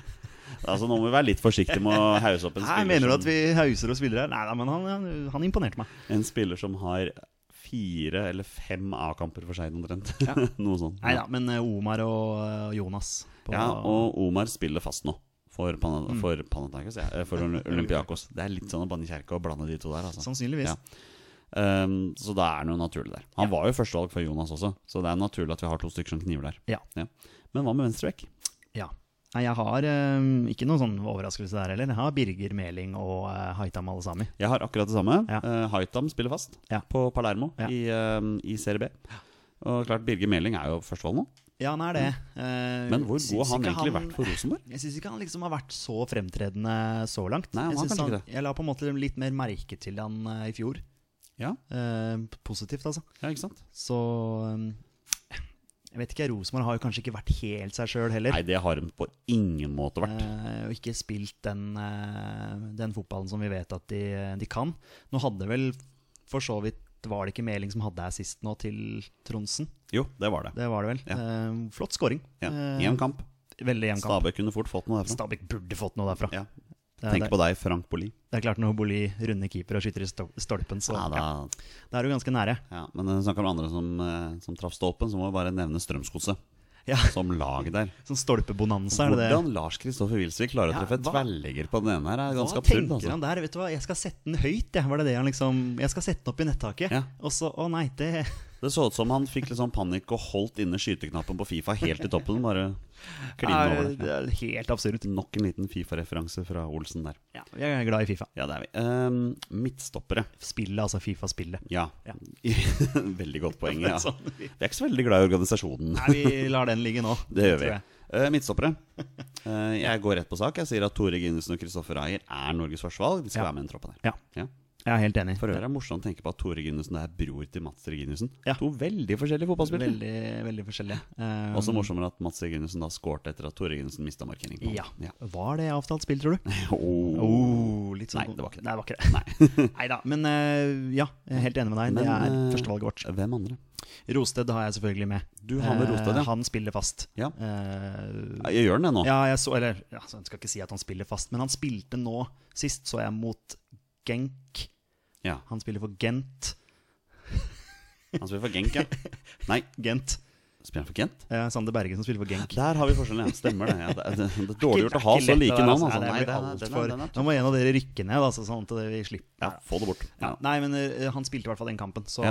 [SPEAKER 2] Altså, nå må vi være litt forsiktige med å hause opp en
[SPEAKER 3] Nei,
[SPEAKER 2] spiller, sånn-
[SPEAKER 3] Mener du
[SPEAKER 2] som,
[SPEAKER 3] at vi hauser og spiller her? Nei, nei men han, han- han imponerte meg.
[SPEAKER 2] en spiller som har fire eller fem A-kamper for Skeid, omtrent. Noe sånt.
[SPEAKER 3] Nei da, men eh, Omar og eh, Jonas på
[SPEAKER 2] Ja, og Omar spiller fast nå. For, Pana for Panathinaikos, Mm. ja. eh, For Oly- Olympiakos. Det er litt sånn å banne i kjerka og blande de to der, altså.
[SPEAKER 3] Sannsynligvis.
[SPEAKER 2] Ja. Um, så da er det noe naturlig der. Han var jo førstevalg for Jonas også, så det er naturlig at vi har to stykker som kniver der.
[SPEAKER 3] Ja.
[SPEAKER 2] Men hva med venstrebekk?
[SPEAKER 3] Ja. Nei, jeg har eh, ikke noen sånn overraskelse der heller. Jeg har Birger Meling og eh, Haitam Alesami.
[SPEAKER 2] Jeg har akkurat det samme.
[SPEAKER 3] Ja.
[SPEAKER 2] Eh, Haitam spiller fast
[SPEAKER 3] Ja.
[SPEAKER 2] på Palermo
[SPEAKER 3] Ja.
[SPEAKER 2] i, um, i Serie B. Og klart, Birger Meling er jo førstevalg nå.
[SPEAKER 3] Ja, han er det. Eh,
[SPEAKER 2] Mm. Men hvor god
[SPEAKER 3] syns
[SPEAKER 2] har han
[SPEAKER 3] ikke
[SPEAKER 2] egentlig vært for Rosenborg?
[SPEAKER 3] Jeg syns ikke han liksom har vært så fremtredende så langt.
[SPEAKER 2] Nei, han
[SPEAKER 3] jeg,
[SPEAKER 2] har
[SPEAKER 3] synes
[SPEAKER 2] kanskje ikke
[SPEAKER 3] jeg la på en måte liksom litt mer merke til han eh, i fjor.
[SPEAKER 2] Ja,
[SPEAKER 3] Eh, positivt, altså.
[SPEAKER 2] ja ikke sant?
[SPEAKER 3] Så eh, Jeg vet ikke, Rosenborg har jo kanskje ikke vært helt seg sjøl heller.
[SPEAKER 2] Nei, det har de på ingen måte vært.
[SPEAKER 3] Eh, og ikke spilt den, eh, den fotballen som vi vet at de, de kan. Nå hadde vel for så vidt var det ikke Meling som hadde assist nå til Tronsen?
[SPEAKER 2] Jo, det var det.
[SPEAKER 3] Det var det vel. Eh, flott scoring.
[SPEAKER 2] Ja.
[SPEAKER 3] Eh,
[SPEAKER 2] Jevn kamp.
[SPEAKER 3] veldig jevn kamp.
[SPEAKER 2] Stabæk kunne fort fått noe derfra.
[SPEAKER 3] Stabæk burde fått noe derfra.
[SPEAKER 2] Ja.
[SPEAKER 3] Det er-
[SPEAKER 2] Tenk
[SPEAKER 3] det,
[SPEAKER 2] på deg, Frank Boli.
[SPEAKER 3] det er klart når Boli runder keeper og skyter i stol- stolpen, så
[SPEAKER 2] Ja,
[SPEAKER 3] ja,
[SPEAKER 2] da,
[SPEAKER 3] da er du ganske nære.
[SPEAKER 2] ja. Men når vi snakker om andre som, eh, som traff stolpen, så må vi bare nevne Strømsgodset
[SPEAKER 3] Ja,
[SPEAKER 2] som lag der.
[SPEAKER 3] Sånn stolpebonanza, er det det?
[SPEAKER 2] Hvordan Lars Kristoffer Wilsvik klarer å
[SPEAKER 3] Ja,
[SPEAKER 2] treffe
[SPEAKER 3] hva-
[SPEAKER 2] tverrlegger på den ene her, er
[SPEAKER 3] Hva
[SPEAKER 2] ganske absurd.
[SPEAKER 3] tenker
[SPEAKER 2] Altså.
[SPEAKER 3] han der? Vet du hva, jeg skal sette den høyt, jeg. Var det det han liksom Jeg skal sette den opp i nettaket,
[SPEAKER 2] Ja.
[SPEAKER 3] og så Å nei, det
[SPEAKER 2] Det så ut som han fikk litt sånn panikk og holdt inne skyteknappen på Fifa helt i toppen. Bare kline
[SPEAKER 3] er,
[SPEAKER 2] over
[SPEAKER 3] det
[SPEAKER 2] det.
[SPEAKER 3] er helt absurd.
[SPEAKER 2] Ja. Nok en liten Fifa-referanse fra Olsen der.
[SPEAKER 3] Ja, jeg er glad i Fifa.
[SPEAKER 2] Ja, det er vi. Ehm, midtstoppere.
[SPEAKER 3] Spillet, altså Fifa-spillet.
[SPEAKER 2] Ja.
[SPEAKER 3] Ja. Sånn.
[SPEAKER 2] veldig godt poeng. Ja. Vi er ikke så veldig glad i organisasjonen.
[SPEAKER 3] Nei, vi lar den ligge nå.
[SPEAKER 2] Det gjør vi.
[SPEAKER 3] tror jeg.
[SPEAKER 2] Eh, midtstoppere. Eh, jeg går rett på sak. Jeg sier at Tore Ginnesen og Kristoffer Ayer er Norges førstevalg. De skal
[SPEAKER 3] Ja.
[SPEAKER 2] være med i den troppen her.
[SPEAKER 3] Ja.
[SPEAKER 2] Ja.
[SPEAKER 3] Jeg er helt enig.
[SPEAKER 2] For øvrig er det morsomt å tenke på at Tore Ginussen er bror til Mats Reginussen.
[SPEAKER 3] Ja.
[SPEAKER 2] To veldig forskjellige fotballspillere.
[SPEAKER 3] Veldig, veldig forskjellige. Eh,
[SPEAKER 2] Også morsommere at Mats Reginussen da skårte etter at Tore Ginussen mista markering. på han.
[SPEAKER 3] Eh, Ja. Var det avtalt spill, tror du?
[SPEAKER 2] Åh.
[SPEAKER 3] Oh, litt
[SPEAKER 2] Nei, det var ikke det.
[SPEAKER 3] Nei, det var ikke det. Neida, Men eh, ja, jeg er helt enig med deg. det er
[SPEAKER 2] eh,
[SPEAKER 3] førstevalget vårt.
[SPEAKER 2] Hvem andre?
[SPEAKER 3] Rosted har jeg selvfølgelig med.
[SPEAKER 2] Du har med
[SPEAKER 3] Eh,
[SPEAKER 2] Rosted, ja.
[SPEAKER 3] Han spiller fast.
[SPEAKER 2] Ja.
[SPEAKER 3] Eh,
[SPEAKER 2] Jeg gjør den det nå.
[SPEAKER 3] Ja, jeg så Eller ja, så jeg skal ikke si at han spiller fast, men han spilte nå sist, så jeg mot Genk.
[SPEAKER 2] Ja.
[SPEAKER 3] Han spiller for Gent.
[SPEAKER 2] Han spiller for Genk, ja. Nei,
[SPEAKER 3] Gent.
[SPEAKER 2] spiller han for Kent?
[SPEAKER 3] Eh, Sander Berge som spiller for Genk.
[SPEAKER 2] Der har vi forskjellen, ja. Stemmer det. Ja, det, er, det er dårlig
[SPEAKER 3] Ikke-
[SPEAKER 2] gjort å ha
[SPEAKER 3] ikke
[SPEAKER 2] så
[SPEAKER 3] lett
[SPEAKER 2] like
[SPEAKER 3] der,
[SPEAKER 2] navn.
[SPEAKER 3] altså.
[SPEAKER 2] Altså.
[SPEAKER 3] Nei,
[SPEAKER 2] Nei,
[SPEAKER 3] det blir
[SPEAKER 2] den er- den er-
[SPEAKER 3] altfor-
[SPEAKER 2] den er
[SPEAKER 3] Nå må en av dere rykke ned, altså, sånn at vi slipper
[SPEAKER 2] Ja, få det bort.
[SPEAKER 3] Ja.
[SPEAKER 2] Ja.
[SPEAKER 3] Nei, men eh, han spilte i hvert fall den kampen, så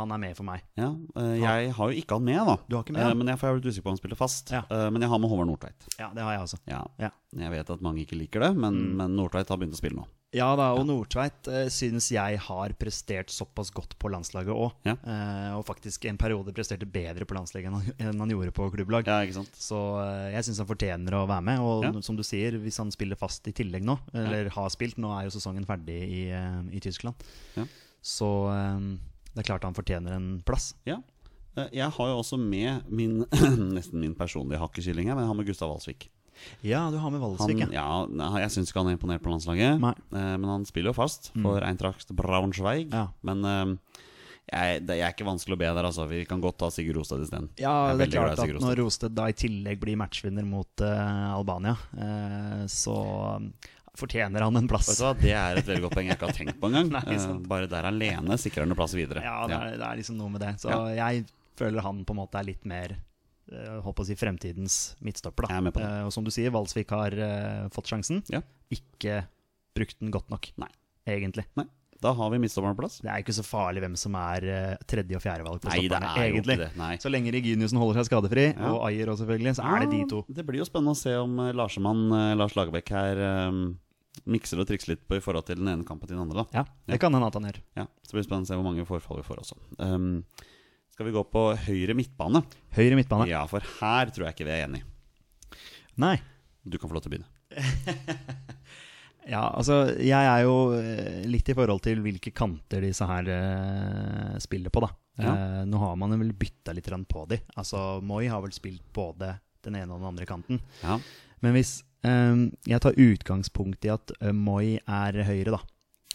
[SPEAKER 3] han er med for meg.
[SPEAKER 2] Ja, eh, jeg har jo ikke han med, da.
[SPEAKER 3] Du har ikke med
[SPEAKER 2] Eh,
[SPEAKER 3] han?
[SPEAKER 2] Men jeg, for jeg er litt usikker på om han spiller fast.
[SPEAKER 3] Ja.
[SPEAKER 2] Eh, Men jeg har med Håvard Nordtveit.
[SPEAKER 3] Ja, det har jeg også.
[SPEAKER 2] Ja.
[SPEAKER 3] Ja, Mm.
[SPEAKER 2] Jeg vet at mange ikke liker det, men, men Nordtveit har begynt å spille nå.
[SPEAKER 3] ja da, og Nordtveit uh, syns jeg har prestert såpass godt på landslaget òg.
[SPEAKER 2] Ja.
[SPEAKER 3] og faktisk en periode presterte bedre på landslaget enn han, enn han gjorde på klubblag.
[SPEAKER 2] Ja, ikke sant?
[SPEAKER 3] Så eh, jeg syns han fortjener å være med. Og
[SPEAKER 2] Ja.
[SPEAKER 3] n- som du sier, hvis han spiller fast i tillegg nå, eller har spilt, nå er jo sesongen ferdig i, eh, i Tyskland,
[SPEAKER 2] Ja.
[SPEAKER 3] så eh, det er klart han fortjener en plass.
[SPEAKER 2] Ja. Eh, Jeg har jo også med min nesten min personlige hakkekylling her, men jeg har med Gustav Alsvik.
[SPEAKER 3] Ja, du har med
[SPEAKER 2] Han,
[SPEAKER 3] Valsvik, ja.
[SPEAKER 2] ja, nei, jeg syns ikke han er imponert på landslaget,
[SPEAKER 3] Nei. Mm.
[SPEAKER 2] eh, men han spiller jo fast for Eintracht Braunschweig.
[SPEAKER 3] Ja.
[SPEAKER 2] Men eh, jeg, det jeg er ikke vanskelig å be der, altså. Vi kan godt ta Sigurd Rostad isteden.
[SPEAKER 3] Ja,
[SPEAKER 2] Jeg er
[SPEAKER 3] det er
[SPEAKER 2] veldig glad
[SPEAKER 3] klart
[SPEAKER 2] i
[SPEAKER 3] at
[SPEAKER 2] Sigurd
[SPEAKER 3] når Rosted da i tillegg blir matchvinner mot eh, Albania, eh, så eh, fortjener han en
[SPEAKER 2] Vet
[SPEAKER 3] plass.
[SPEAKER 2] du hva, Det er et veldig godt poeng jeg ikke har tenkt på engang.
[SPEAKER 3] Nei,
[SPEAKER 2] Eh,
[SPEAKER 3] sant.
[SPEAKER 2] Bare der alene sikrer han jo plass videre.
[SPEAKER 3] Ja, det er, det er liksom noe med det. Så jeg føler han på en måte er litt mer eh, holdt på å si fremtidens midtstopper. Da.
[SPEAKER 2] Jeg er med på det.
[SPEAKER 3] Eh, og som du sier, Valsvik har eh, fått sjansen.
[SPEAKER 2] Ja.
[SPEAKER 3] Ikke brukt den godt nok,
[SPEAKER 2] Nei.
[SPEAKER 3] egentlig.
[SPEAKER 2] Nei, da har vi midtstopperplass.
[SPEAKER 3] Det er jo ikke så farlig hvem som er eh, tredje- og fjerdevalg på
[SPEAKER 2] Nei, det
[SPEAKER 3] stopperne,
[SPEAKER 2] er jo
[SPEAKER 3] egentlig.
[SPEAKER 2] ikke det. Nei.
[SPEAKER 3] Så lenge Reginiussen holder seg skadefri,
[SPEAKER 2] Ja. Ah.
[SPEAKER 3] og Ayer òg selvfølgelig, så er det de to.
[SPEAKER 2] Ja, Det blir jo spennende å se om eh, Larsemann, eh, Lars Lagerbäck her eh, mikser og trikser litt på i forhold til den ene kampen til den andre. da
[SPEAKER 3] Ja, det kan hende at han gjør.
[SPEAKER 2] ja, Så blir det spennende å se hvor mange forfall vi får også. Ehm, skal vi gå på høyre midtbane?
[SPEAKER 3] Høyre midtbane.
[SPEAKER 2] Ja, for her tror jeg ikke vi er enige.
[SPEAKER 3] Nei.
[SPEAKER 2] Du kan få lov til å begynne.
[SPEAKER 3] Ja, altså, jeg er jo eh, litt i forhold til hvilke kanter disse her eh, spiller på, da.
[SPEAKER 2] Ja.
[SPEAKER 3] Eh, nå har man vel bytta litt grann på de. Altså, Moi har vel spilt både den ene og den andre kanten.
[SPEAKER 2] Ja,
[SPEAKER 3] Men hvis eh, jeg tar utgangspunkt i at eh, Moi er høyre, da,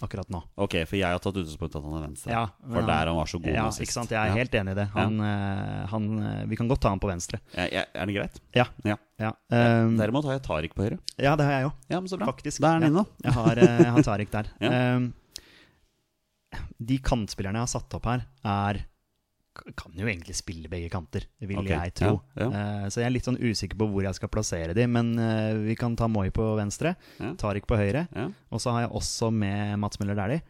[SPEAKER 3] akkurat nå
[SPEAKER 2] Ok, for jeg har tatt utgangspunkt i at han er venstre.
[SPEAKER 3] Ja,
[SPEAKER 2] for
[SPEAKER 3] men
[SPEAKER 2] der
[SPEAKER 3] han-
[SPEAKER 2] han var så god
[SPEAKER 3] Ja,
[SPEAKER 2] nå sist.
[SPEAKER 3] ikke sant? Jeg er
[SPEAKER 2] Ja.
[SPEAKER 3] helt enig i det. Han, eh, han, eh, vi kan godt ta han på venstre.
[SPEAKER 2] Ja, ja, Er det greit?
[SPEAKER 3] Ja.
[SPEAKER 2] Ja.
[SPEAKER 3] Ja, eh,
[SPEAKER 2] Derimot har jeg Tariq på høyre.
[SPEAKER 3] ja det har jeg òg.
[SPEAKER 2] Ja, men så bra.
[SPEAKER 3] Faktisk.
[SPEAKER 2] Da er han
[SPEAKER 3] Ja.
[SPEAKER 2] inne, da.
[SPEAKER 3] Jeg har, eh, jeg har Tariq der.
[SPEAKER 2] Ja.
[SPEAKER 3] Ehm, de kantspillerne jeg har satt opp her, er k- kan jo egentlig spille begge kanter, vil
[SPEAKER 2] Ok,
[SPEAKER 3] jeg tro.
[SPEAKER 2] ja,
[SPEAKER 3] Eh, så jeg er litt sånn usikker på hvor jeg skal plassere de, men eh, vi kan ta Moi på venstre,
[SPEAKER 2] Ja.
[SPEAKER 3] Tariq på høyre,
[SPEAKER 2] Ja.
[SPEAKER 3] og så har jeg også med Mats Møller Dæhlie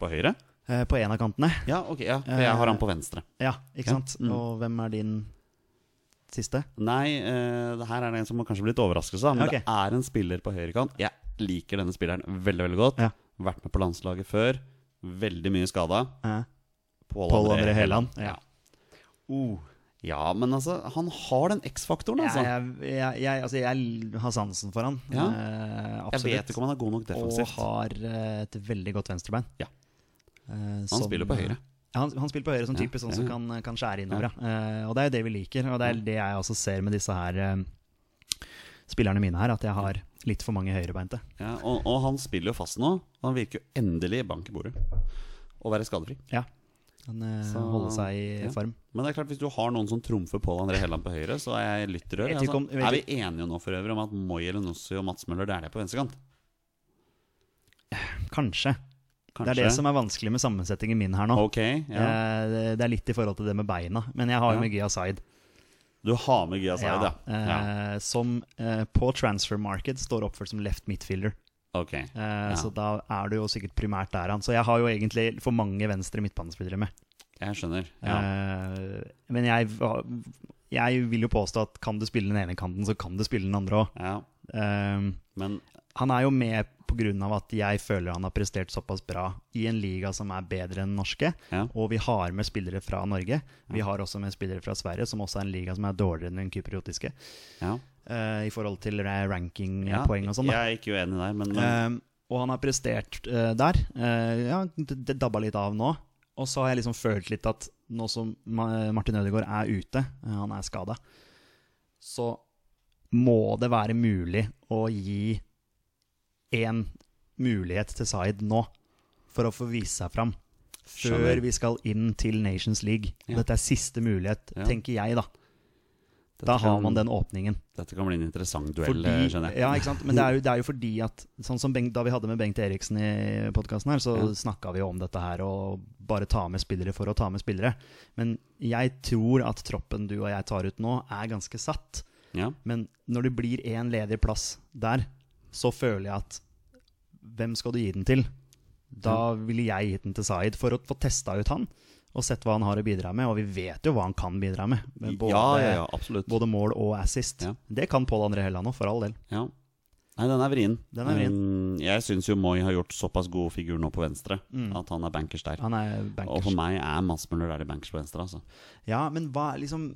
[SPEAKER 2] På høyre?
[SPEAKER 3] eh, på en av kantene.
[SPEAKER 2] Ja, ok. Ja, for
[SPEAKER 3] Eh.
[SPEAKER 2] jeg har han på venstre.
[SPEAKER 3] Ja, ikke
[SPEAKER 2] Ja,
[SPEAKER 3] sant?
[SPEAKER 2] mm.
[SPEAKER 3] Og hvem er din siste?
[SPEAKER 2] Nei, eh, det her er det en som må kanskje bli litt overraskelse, da, men
[SPEAKER 3] Ok.
[SPEAKER 2] det er en spiller på høyrekant. Jeg liker denne spilleren veldig veldig godt.
[SPEAKER 3] Ja.
[SPEAKER 2] Vært med på landslaget før. Veldig mye skada.
[SPEAKER 3] Eh,
[SPEAKER 2] Pål
[SPEAKER 3] Pål André Helland.
[SPEAKER 2] Ja. Uh,
[SPEAKER 3] Ja. Oh,
[SPEAKER 2] ja, men altså, han har den X-faktoren, altså. Jeg,
[SPEAKER 3] jeg, jeg, jeg, altså, jeg har sansen for han.
[SPEAKER 2] Ja.
[SPEAKER 3] Eh, absolutt.
[SPEAKER 2] vet ikke om han er god nok defensivt.
[SPEAKER 3] Og har eh, et veldig godt venstrebein.
[SPEAKER 2] Ja.
[SPEAKER 3] Eh,
[SPEAKER 2] Han
[SPEAKER 3] som-
[SPEAKER 2] spiller på høyre.
[SPEAKER 3] Ja, han, han spiller på høyre som
[SPEAKER 2] Ja,
[SPEAKER 3] typisk sånn
[SPEAKER 2] ja,
[SPEAKER 3] som
[SPEAKER 2] ja.
[SPEAKER 3] kan, kan skjære innover. Ja. Eh, og det er jo det vi liker, og det er det jeg også ser med disse her eh, spillerne mine her, at jeg har litt for mange høyrebeinte.
[SPEAKER 2] Ja, og, og han spiller jo fast nå. Og han virker jo endelig bank i bordet. Å være skadefri.
[SPEAKER 3] Ja. Han eh,
[SPEAKER 2] Så-
[SPEAKER 3] holder seg i
[SPEAKER 2] ja.
[SPEAKER 3] form.
[SPEAKER 2] Men det er klart, hvis du har noen som trumfer Pål André Helland på høyre, så er jeg lytterør.
[SPEAKER 3] Jeg vet ikke
[SPEAKER 2] Altså.
[SPEAKER 3] om- jeg vet
[SPEAKER 2] Er vi enige nå for øvrig om at Moi Elenossi og Mats Møller Dæhlie er på venstrekant?
[SPEAKER 3] Kanskje. Det
[SPEAKER 2] Kanskje.
[SPEAKER 3] er det som er vanskelig med sammensetningen min her nå.
[SPEAKER 2] Ok, ja.
[SPEAKER 3] Eh, det, det er litt i forhold til det med beina, men jeg har
[SPEAKER 2] Ja.
[SPEAKER 3] jo med Gia Zaid.
[SPEAKER 2] Du har med Gia Zaid, ja.
[SPEAKER 3] eh,
[SPEAKER 2] ja.
[SPEAKER 3] Som eh, på transfer market står oppført som left midfielder.
[SPEAKER 2] Ok.
[SPEAKER 3] Eh, Så da er du jo sikkert primært der han. Så jeg har jo egentlig for mange venstre midtbanespillere med.
[SPEAKER 2] Jeg skjønner. Ja.
[SPEAKER 3] Eh, men jeg, va- jeg vil jo påstå at kan du spille den ene kanten, så kan du spille den andre òg.
[SPEAKER 2] ja. Men
[SPEAKER 3] han er jo med pga. at jeg føler han har prestert såpass bra i en liga som er bedre enn den norske.
[SPEAKER 2] ja.
[SPEAKER 3] Og vi har med spillere fra Norge. Vi har også med spillere fra Sverige, som også er en liga som er dårligere enn den kypriotiske.
[SPEAKER 2] ja.
[SPEAKER 3] eh, I forhold til ra- rankingpoeng og sånn. da.
[SPEAKER 2] jeg er ikke uenig der, men, men
[SPEAKER 3] Eh, Og han har prestert eh, der. Eh, ja, det, det dabba litt av nå. Og så har jeg liksom følt litt at nå som Ma- Martin Ødegaard er ute, eh, han er skada, så må det være mulig å gi én mulighet til Zaid nå for å få vise seg fram. Før
[SPEAKER 2] Skjønner.
[SPEAKER 3] vi skal inn til Nations League.
[SPEAKER 2] Ja.
[SPEAKER 3] Dette er siste mulighet,
[SPEAKER 2] Ja.
[SPEAKER 3] tenker jeg, da.
[SPEAKER 2] Dette
[SPEAKER 3] Da har
[SPEAKER 2] kan-
[SPEAKER 3] man den åpningen.
[SPEAKER 2] Dette kan bli en interessant duell, eh,
[SPEAKER 3] Fordi,
[SPEAKER 2] skjønner jeg.
[SPEAKER 3] ja, ikke sant? Men det er, jo, det er jo fordi at Sånn som Bengt, da vi hadde med Bengt Eriksen i podkasten her, så
[SPEAKER 2] Ja.
[SPEAKER 3] snakket snakka vi jo om dette her og bare ta med spillere for å ta med spillere. Men jeg tror at troppen du og jeg tar ut nå, er ganske satt.
[SPEAKER 2] Ja.
[SPEAKER 3] Men når det blir én ledig plass der, så føler jeg at Hvem skal du gi den til? Da ville jeg gitt den til Zaid for å få testa ut han og sett hva han har å bidra med. Og vi vet jo hva han kan bidra med. med både,
[SPEAKER 2] ja, ja, ja, absolutt.
[SPEAKER 3] både mål og assist.
[SPEAKER 2] Ja.
[SPEAKER 3] Det kan Pål André Helland òg, for all del.
[SPEAKER 2] Ja. Nei, den er vrien.
[SPEAKER 3] Den er vrien.
[SPEAKER 2] Mm, jeg syns jo Moi har gjort såpass god figur nå på venstre
[SPEAKER 3] Mm.
[SPEAKER 2] at han er bankers der.
[SPEAKER 3] Han er
[SPEAKER 2] Og
[SPEAKER 3] bankers.
[SPEAKER 2] for meg er Mads Møller der i bankers på venstre. Altså.
[SPEAKER 3] Ja, men hva er liksom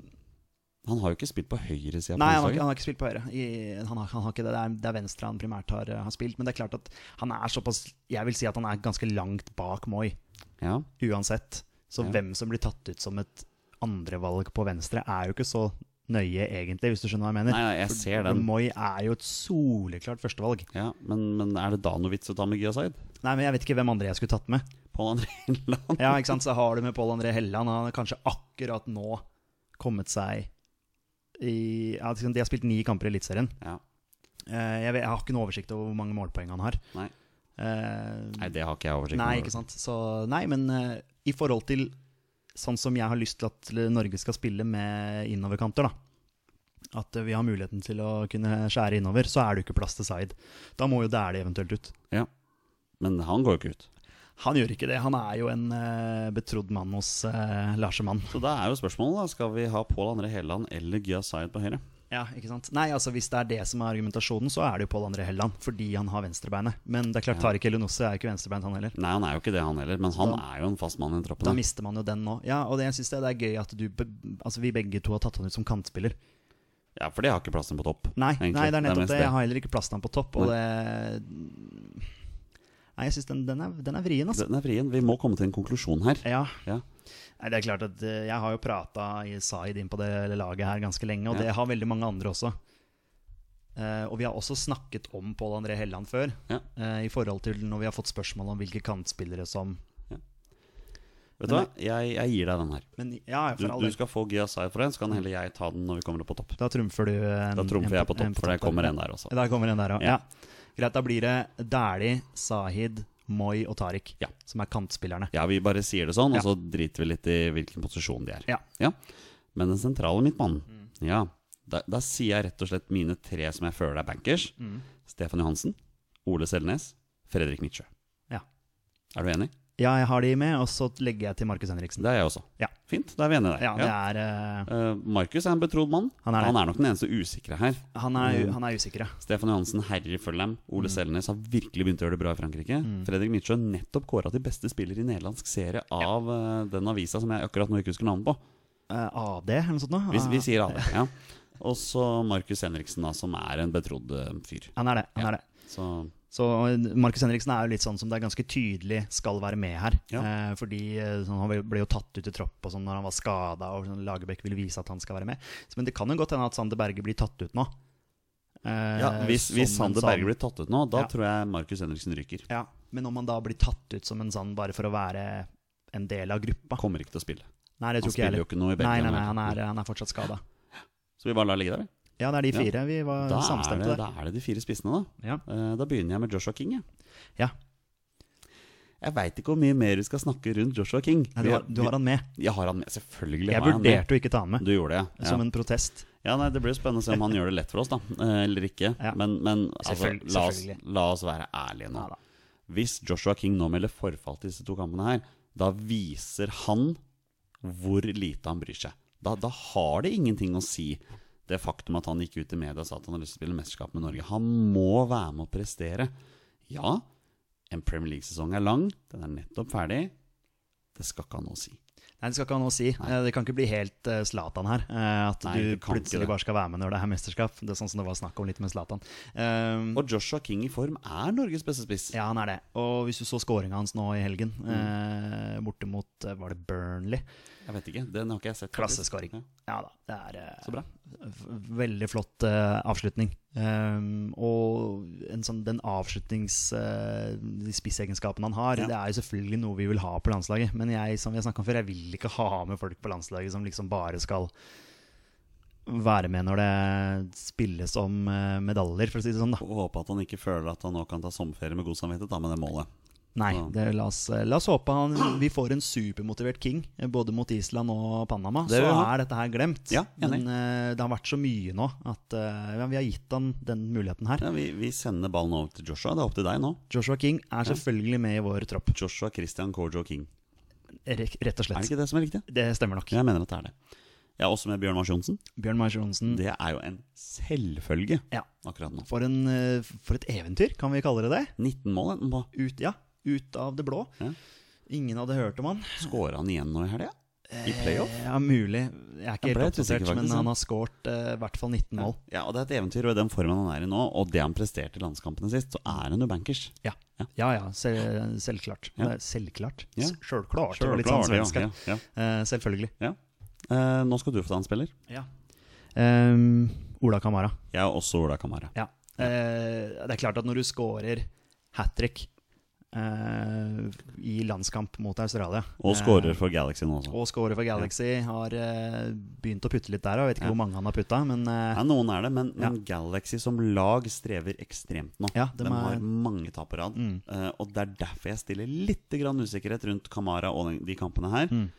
[SPEAKER 2] Han har jo ikke spilt på høyresida.
[SPEAKER 3] Nei, han har, ikke- han har ikke spilt på høyre. I, han har, han har ikke det. Det er, det er venstre han primært har, eh, har spilt. Men det er klart at han er såpass Jeg vil si at han er ganske langt bak Moi,
[SPEAKER 2] Ja.
[SPEAKER 3] uansett. Så
[SPEAKER 2] Ja.
[SPEAKER 3] hvem som blir tatt ut som et andrevalg på venstre, er jo ikke så nøye, egentlig, hvis du skjønner hva jeg mener.
[SPEAKER 2] Nei, nei, jeg
[SPEAKER 3] For
[SPEAKER 2] ser den.
[SPEAKER 3] Moi er jo et soleklart førstevalg.
[SPEAKER 2] Ja, men, men er det da noe vits å ta med Gyasaid?
[SPEAKER 3] Nei, men jeg vet ikke hvem andre jeg skulle tatt med.
[SPEAKER 2] Pål André Helland?
[SPEAKER 3] Ja, ikke sant? Så har du med Pål André Helland. Han har kanskje akkurat nå kommet seg i ja, De har spilt ni kamper i Eliteserien.
[SPEAKER 2] Ja.
[SPEAKER 3] Eh, Jeg, vet, jeg har ikke noe oversikt over hvor mange målpoeng han har.
[SPEAKER 2] Nei.
[SPEAKER 3] Eh,
[SPEAKER 2] Nei, det har ikke jeg oversikt
[SPEAKER 3] nei, ikke sant. Så, nei, men eh, i forhold til sånn som jeg har lyst til at Norge skal spille med innoverkanter, da. At eh, vi har muligheten til å kunne skjære innover, så er det jo ikke plass til Zaid. Da må jo Dæhlie eventuelt ut.
[SPEAKER 2] Ja. Men han går jo ikke ut.
[SPEAKER 3] Han gjør ikke det. Han er jo en eh, betrodd mann hos uh, Larsemann.
[SPEAKER 2] Så da er jo spørsmålet, da. Skal vi ha Pål André Helland eller Gyasaid på høyre?
[SPEAKER 3] Ja, ikke sant? Nei, altså Hvis det er det som er argumentasjonen, så er det jo Pål André Helland. Fordi han har venstrebeinet. Men det er klart, Tariq Elionosse er jo ikke venstrebeint, han heller.
[SPEAKER 2] Nei, han er jo ikke det, han heller. Men han er jo en fast mann i den
[SPEAKER 3] Da
[SPEAKER 2] troppen. her.
[SPEAKER 3] mister man jo den nå. Ja, og det, jeg synes det, det er gøy at du be, Altså vi begge to har tatt han ut som kantspiller.
[SPEAKER 2] Ja, For det har ikke plassen på topp.
[SPEAKER 3] Nei,
[SPEAKER 2] egentlig.
[SPEAKER 3] nei det er nettopp
[SPEAKER 2] mest
[SPEAKER 3] det. Jeg har heller ikke plassen på topp. Og det Nei, jeg syns den, den, er- den er vrien, altså.
[SPEAKER 2] Den er vrien. Vi må komme til en konklusjon her.
[SPEAKER 3] Ja.
[SPEAKER 2] Ja.
[SPEAKER 3] Nei, det er klart at eh, Jeg har jo prata i Zaid inn på det laget her ganske lenge, og
[SPEAKER 2] Ja.
[SPEAKER 3] det har veldig mange andre også. Eh, og vi har også snakket om Pål André Helland før,
[SPEAKER 2] Ja.
[SPEAKER 3] eh, i forhold til når vi har fått spørsmål om hvilke kantspillere som
[SPEAKER 2] Vet du hva, jeg, jeg gir deg den her.
[SPEAKER 3] Men ja,
[SPEAKER 2] Du,
[SPEAKER 3] for all
[SPEAKER 2] du
[SPEAKER 3] del.
[SPEAKER 2] skal få Gyasai for den, så kan heller jeg ta den når vi kommer opp på topp.
[SPEAKER 3] Da trumfer du en,
[SPEAKER 2] Da trumfer
[SPEAKER 3] Mm, en
[SPEAKER 2] jeg på
[SPEAKER 3] en
[SPEAKER 2] topp, for det
[SPEAKER 3] der.
[SPEAKER 2] kommer en der også.
[SPEAKER 3] Der kommer en der òg.
[SPEAKER 2] Ja.
[SPEAKER 3] Ja. Greit, da blir det Dæhlie, Sahid, Moi og Tariq
[SPEAKER 2] Ja.
[SPEAKER 3] som er kantspillerne.
[SPEAKER 2] Ja, vi bare sier det sånn,
[SPEAKER 3] Ja.
[SPEAKER 2] og så driter vi litt i hvilken posisjon de er.
[SPEAKER 3] Ja. Mm.
[SPEAKER 2] Men den sentrale midtmannen, ja. Da, da sier jeg rett og slett mine tre som jeg føler er bankers.
[SPEAKER 3] Mm.
[SPEAKER 2] Stefan Johansen, Ole Selnes, Fredrik Nitsjø.
[SPEAKER 3] Ja.
[SPEAKER 2] Er du enig?
[SPEAKER 3] ja, jeg har de med, og så legger jeg til Markus Henriksen.
[SPEAKER 2] Det er jeg også.
[SPEAKER 3] Ja.
[SPEAKER 2] Fint, da er vi enige der.
[SPEAKER 3] Ja, det er, eh,
[SPEAKER 2] Eh, Markus er en betrodd mann.
[SPEAKER 3] Han er det.
[SPEAKER 2] nok den eneste usikre her. Mm.
[SPEAKER 3] han, er, han er usikre.
[SPEAKER 2] Stefan Johansen herjer følger dem. Ole
[SPEAKER 3] Mm.
[SPEAKER 2] Selnes har virkelig begynt å gjøre det bra i Frankrike. Fredrik Nietzsche nettopp kåra til beste spiller i nederlandsk serie av eh, den avisa som jeg akkurat nå ikke husker navnet på.
[SPEAKER 3] Eh, AD eller noe sånt Ah, noe?
[SPEAKER 2] Vi, vi sier AD. Ja. Og så Markus Henriksen, da, som er en betrodd eh, fyr.
[SPEAKER 3] Han er det. han
[SPEAKER 2] Ja.
[SPEAKER 3] er det.
[SPEAKER 2] Så
[SPEAKER 3] Så Markus Henriksen er jo litt sånn som det er ganske tydelig skal være med her.
[SPEAKER 2] Ja.
[SPEAKER 3] Eh, fordi eh, sånn, Han ble jo tatt ut i tropp og sånn når han var skada, og sånn, Lagerbäck ville vise at han skal være med. Så, men det kan jo godt hende at Sander Berge blir tatt ut nå. Eh,
[SPEAKER 2] ja, hvis,
[SPEAKER 3] som
[SPEAKER 2] hvis
[SPEAKER 3] en
[SPEAKER 2] Sander
[SPEAKER 3] sånn-
[SPEAKER 2] Berge blir tatt ut nå, da
[SPEAKER 3] Ja.
[SPEAKER 2] tror jeg Markus Henriksen ryker.
[SPEAKER 3] Ja, Men om han da blir tatt ut som en sånn bare for å være en del av gruppa
[SPEAKER 2] Kommer ikke til å spille.
[SPEAKER 3] Nei, det tror ikke jeg
[SPEAKER 2] Han spiller jo
[SPEAKER 3] heller.
[SPEAKER 2] ikke noe i
[SPEAKER 3] Nei,
[SPEAKER 2] Belgia.
[SPEAKER 3] nei, nei,
[SPEAKER 2] nå.
[SPEAKER 3] han er, han er fortsatt skada.
[SPEAKER 2] Så vi bare lar det ligge der, vi.
[SPEAKER 3] Ja, det er de
[SPEAKER 2] Ja.
[SPEAKER 3] fire. Vi var
[SPEAKER 2] Da er,
[SPEAKER 3] samstemte der.
[SPEAKER 2] det, da er det de fire spissene, da.
[SPEAKER 3] Ja.
[SPEAKER 2] Eh, Da begynner jeg med Joshua King. Jeg,
[SPEAKER 3] Ja.
[SPEAKER 2] jeg veit ikke hvor mye mer vi skal snakke rundt Joshua King.
[SPEAKER 3] Nei, du, har, du har han med.
[SPEAKER 2] Jeg har han med, selvfølgelig.
[SPEAKER 3] Jeg
[SPEAKER 2] har jeg han med.
[SPEAKER 3] vurderte å ikke ta han med,
[SPEAKER 2] Du gjorde det, ja.
[SPEAKER 3] som en protest.
[SPEAKER 2] ja nei, det blir jo spennende å se om han gjør det lett for oss, da. eh, Eller ikke.
[SPEAKER 3] Ja.
[SPEAKER 2] Men, men altså,
[SPEAKER 3] Selvfølgelig-
[SPEAKER 2] la, oss,
[SPEAKER 3] selvfølgelig.
[SPEAKER 2] la oss være ærlige nå.
[SPEAKER 3] Ja da.
[SPEAKER 2] Hvis Joshua King nå melder forfall til disse to kampene her, da viser han hvor lite han bryr seg. Da, da har det ingenting å si, det faktum at han gikk ut i media og sa at han har lyst til å spille mesterskap med Norge. Han må være med å prestere. Ja, en Premier League-sesong er lang. Den er nettopp ferdig. Det skal ikke ha noe å si.
[SPEAKER 3] Nei, Det skal ikke ha noe å si. Eh, Det kan ikke bli helt eh, Zlatan her. eh, At
[SPEAKER 2] Nei,
[SPEAKER 3] du
[SPEAKER 2] det kan ikke
[SPEAKER 3] plutselig
[SPEAKER 2] det.
[SPEAKER 3] bare skal være med når det er mesterskap. Det er sånn som det var snakk om litt med Zlatan. Eh,
[SPEAKER 2] Og Joshua King i form er Norges beste spiss.
[SPEAKER 3] ja, han er det. Og hvis du så scoringa hans nå i helgen,
[SPEAKER 2] Mm.
[SPEAKER 3] eh, borte mot eh, Var det Burnley?
[SPEAKER 2] Jeg vet ikke, Den har ikke jeg sett. faktisk.
[SPEAKER 3] Klasseskåring.
[SPEAKER 2] Ja.
[SPEAKER 3] Ja da. Det er eh,
[SPEAKER 2] Så bra.
[SPEAKER 3] v- veldig flott eh, avslutning. Eh, og en sånn, den avslutnings... eh, de spissegenskapene han har,
[SPEAKER 2] Ja.
[SPEAKER 3] det er jo selvfølgelig noe vi vil ha på landslaget. Men jeg som vi har snakket om før, jeg vil ikke ha med folk på landslaget som liksom bare skal være med når det spilles om eh, medaljer, for å si det sånn. da
[SPEAKER 2] Og håpe at han ikke føler at han nå kan ta sommerferie med god samvittighet da, med det målet.
[SPEAKER 3] Nei,
[SPEAKER 2] Ja.
[SPEAKER 3] det, la, oss, eh, la oss håpe han, vi får en supermotivert king, eh, både mot Island og Panama.
[SPEAKER 2] Det
[SPEAKER 3] så
[SPEAKER 2] vil vi ha.
[SPEAKER 3] er dette her glemt.
[SPEAKER 2] Ja, enig.
[SPEAKER 3] Men eh, det har vært så mye nå at eh, ja, vi har gitt han den muligheten her.
[SPEAKER 2] Ja, vi, vi sender ballen over til Joshua. Det er opp til deg nå.
[SPEAKER 3] Joshua King er selvfølgelig med i vår tropp,
[SPEAKER 2] Joshua Christian Kojo King.
[SPEAKER 3] Rek- rett og
[SPEAKER 2] Er det
[SPEAKER 3] slett.
[SPEAKER 2] ikke det som er riktig?
[SPEAKER 3] Det stemmer nok.
[SPEAKER 2] Jeg mener at det er det. Jeg er også med Bjørn Mars Johnsen.
[SPEAKER 3] Bjørn Meier Johnsen,
[SPEAKER 2] Det er jo en selvfølge
[SPEAKER 3] Ja.
[SPEAKER 2] akkurat nå.
[SPEAKER 3] for, en, eh, for et eventyr, kan vi kalle det det?
[SPEAKER 2] 19 mål enten på.
[SPEAKER 3] Ut, ja, ut av det blå.
[SPEAKER 2] Ja.
[SPEAKER 3] Ingen hadde hørt om han. Eh,
[SPEAKER 2] Skåra han igjen nå i helga? I playoff?
[SPEAKER 3] Ja, mulig. Jeg er ikke
[SPEAKER 2] Jeg ble
[SPEAKER 3] helt
[SPEAKER 2] litt
[SPEAKER 3] oppdatert,
[SPEAKER 2] usikker,
[SPEAKER 3] men
[SPEAKER 2] faktisk, ja.
[SPEAKER 3] han har skåret i hvert fall 19 mål.
[SPEAKER 2] Ja, og det er et eventyr. Og i den formen han er i nå, og det han presterte i landskampene sist, så er han jo bankers.
[SPEAKER 3] Ja,
[SPEAKER 2] Ja.
[SPEAKER 3] ja, ja sel selvklart.
[SPEAKER 2] Ja.
[SPEAKER 3] Det er Selvklart?
[SPEAKER 2] Ja.
[SPEAKER 3] S- Sjølklart. Det var litt sånn
[SPEAKER 2] Sjølklart, ja,
[SPEAKER 3] svensk. her.
[SPEAKER 2] ja,
[SPEAKER 3] Eh, selvfølgelig.
[SPEAKER 2] ja, ja. Eh, nå skal du få ta en spiller.
[SPEAKER 3] Ehm, Ola Kamara.
[SPEAKER 2] Jeg er også Ola Kamara.
[SPEAKER 3] Ja. Eh, det er klart at når du scorer hat trick i landskamp mot Australia
[SPEAKER 2] Og
[SPEAKER 3] eh,
[SPEAKER 2] skårer for Galaxy nå også.
[SPEAKER 3] og scorer for Galaxy. Har eh, begynt å putte litt der. og Jeg vet ikke
[SPEAKER 2] Ja.
[SPEAKER 3] hvor mange han har putta, men eh,
[SPEAKER 2] Ja, noen er det, men, men Galaxy som lag strever ekstremt nå.
[SPEAKER 3] Ja,
[SPEAKER 2] de
[SPEAKER 3] dem er- Mm.
[SPEAKER 2] har mange tap på rad. eh, og det er derfor jeg stiller litt grann usikkerhet rundt Kamara og den, de kampene her.
[SPEAKER 3] Mm.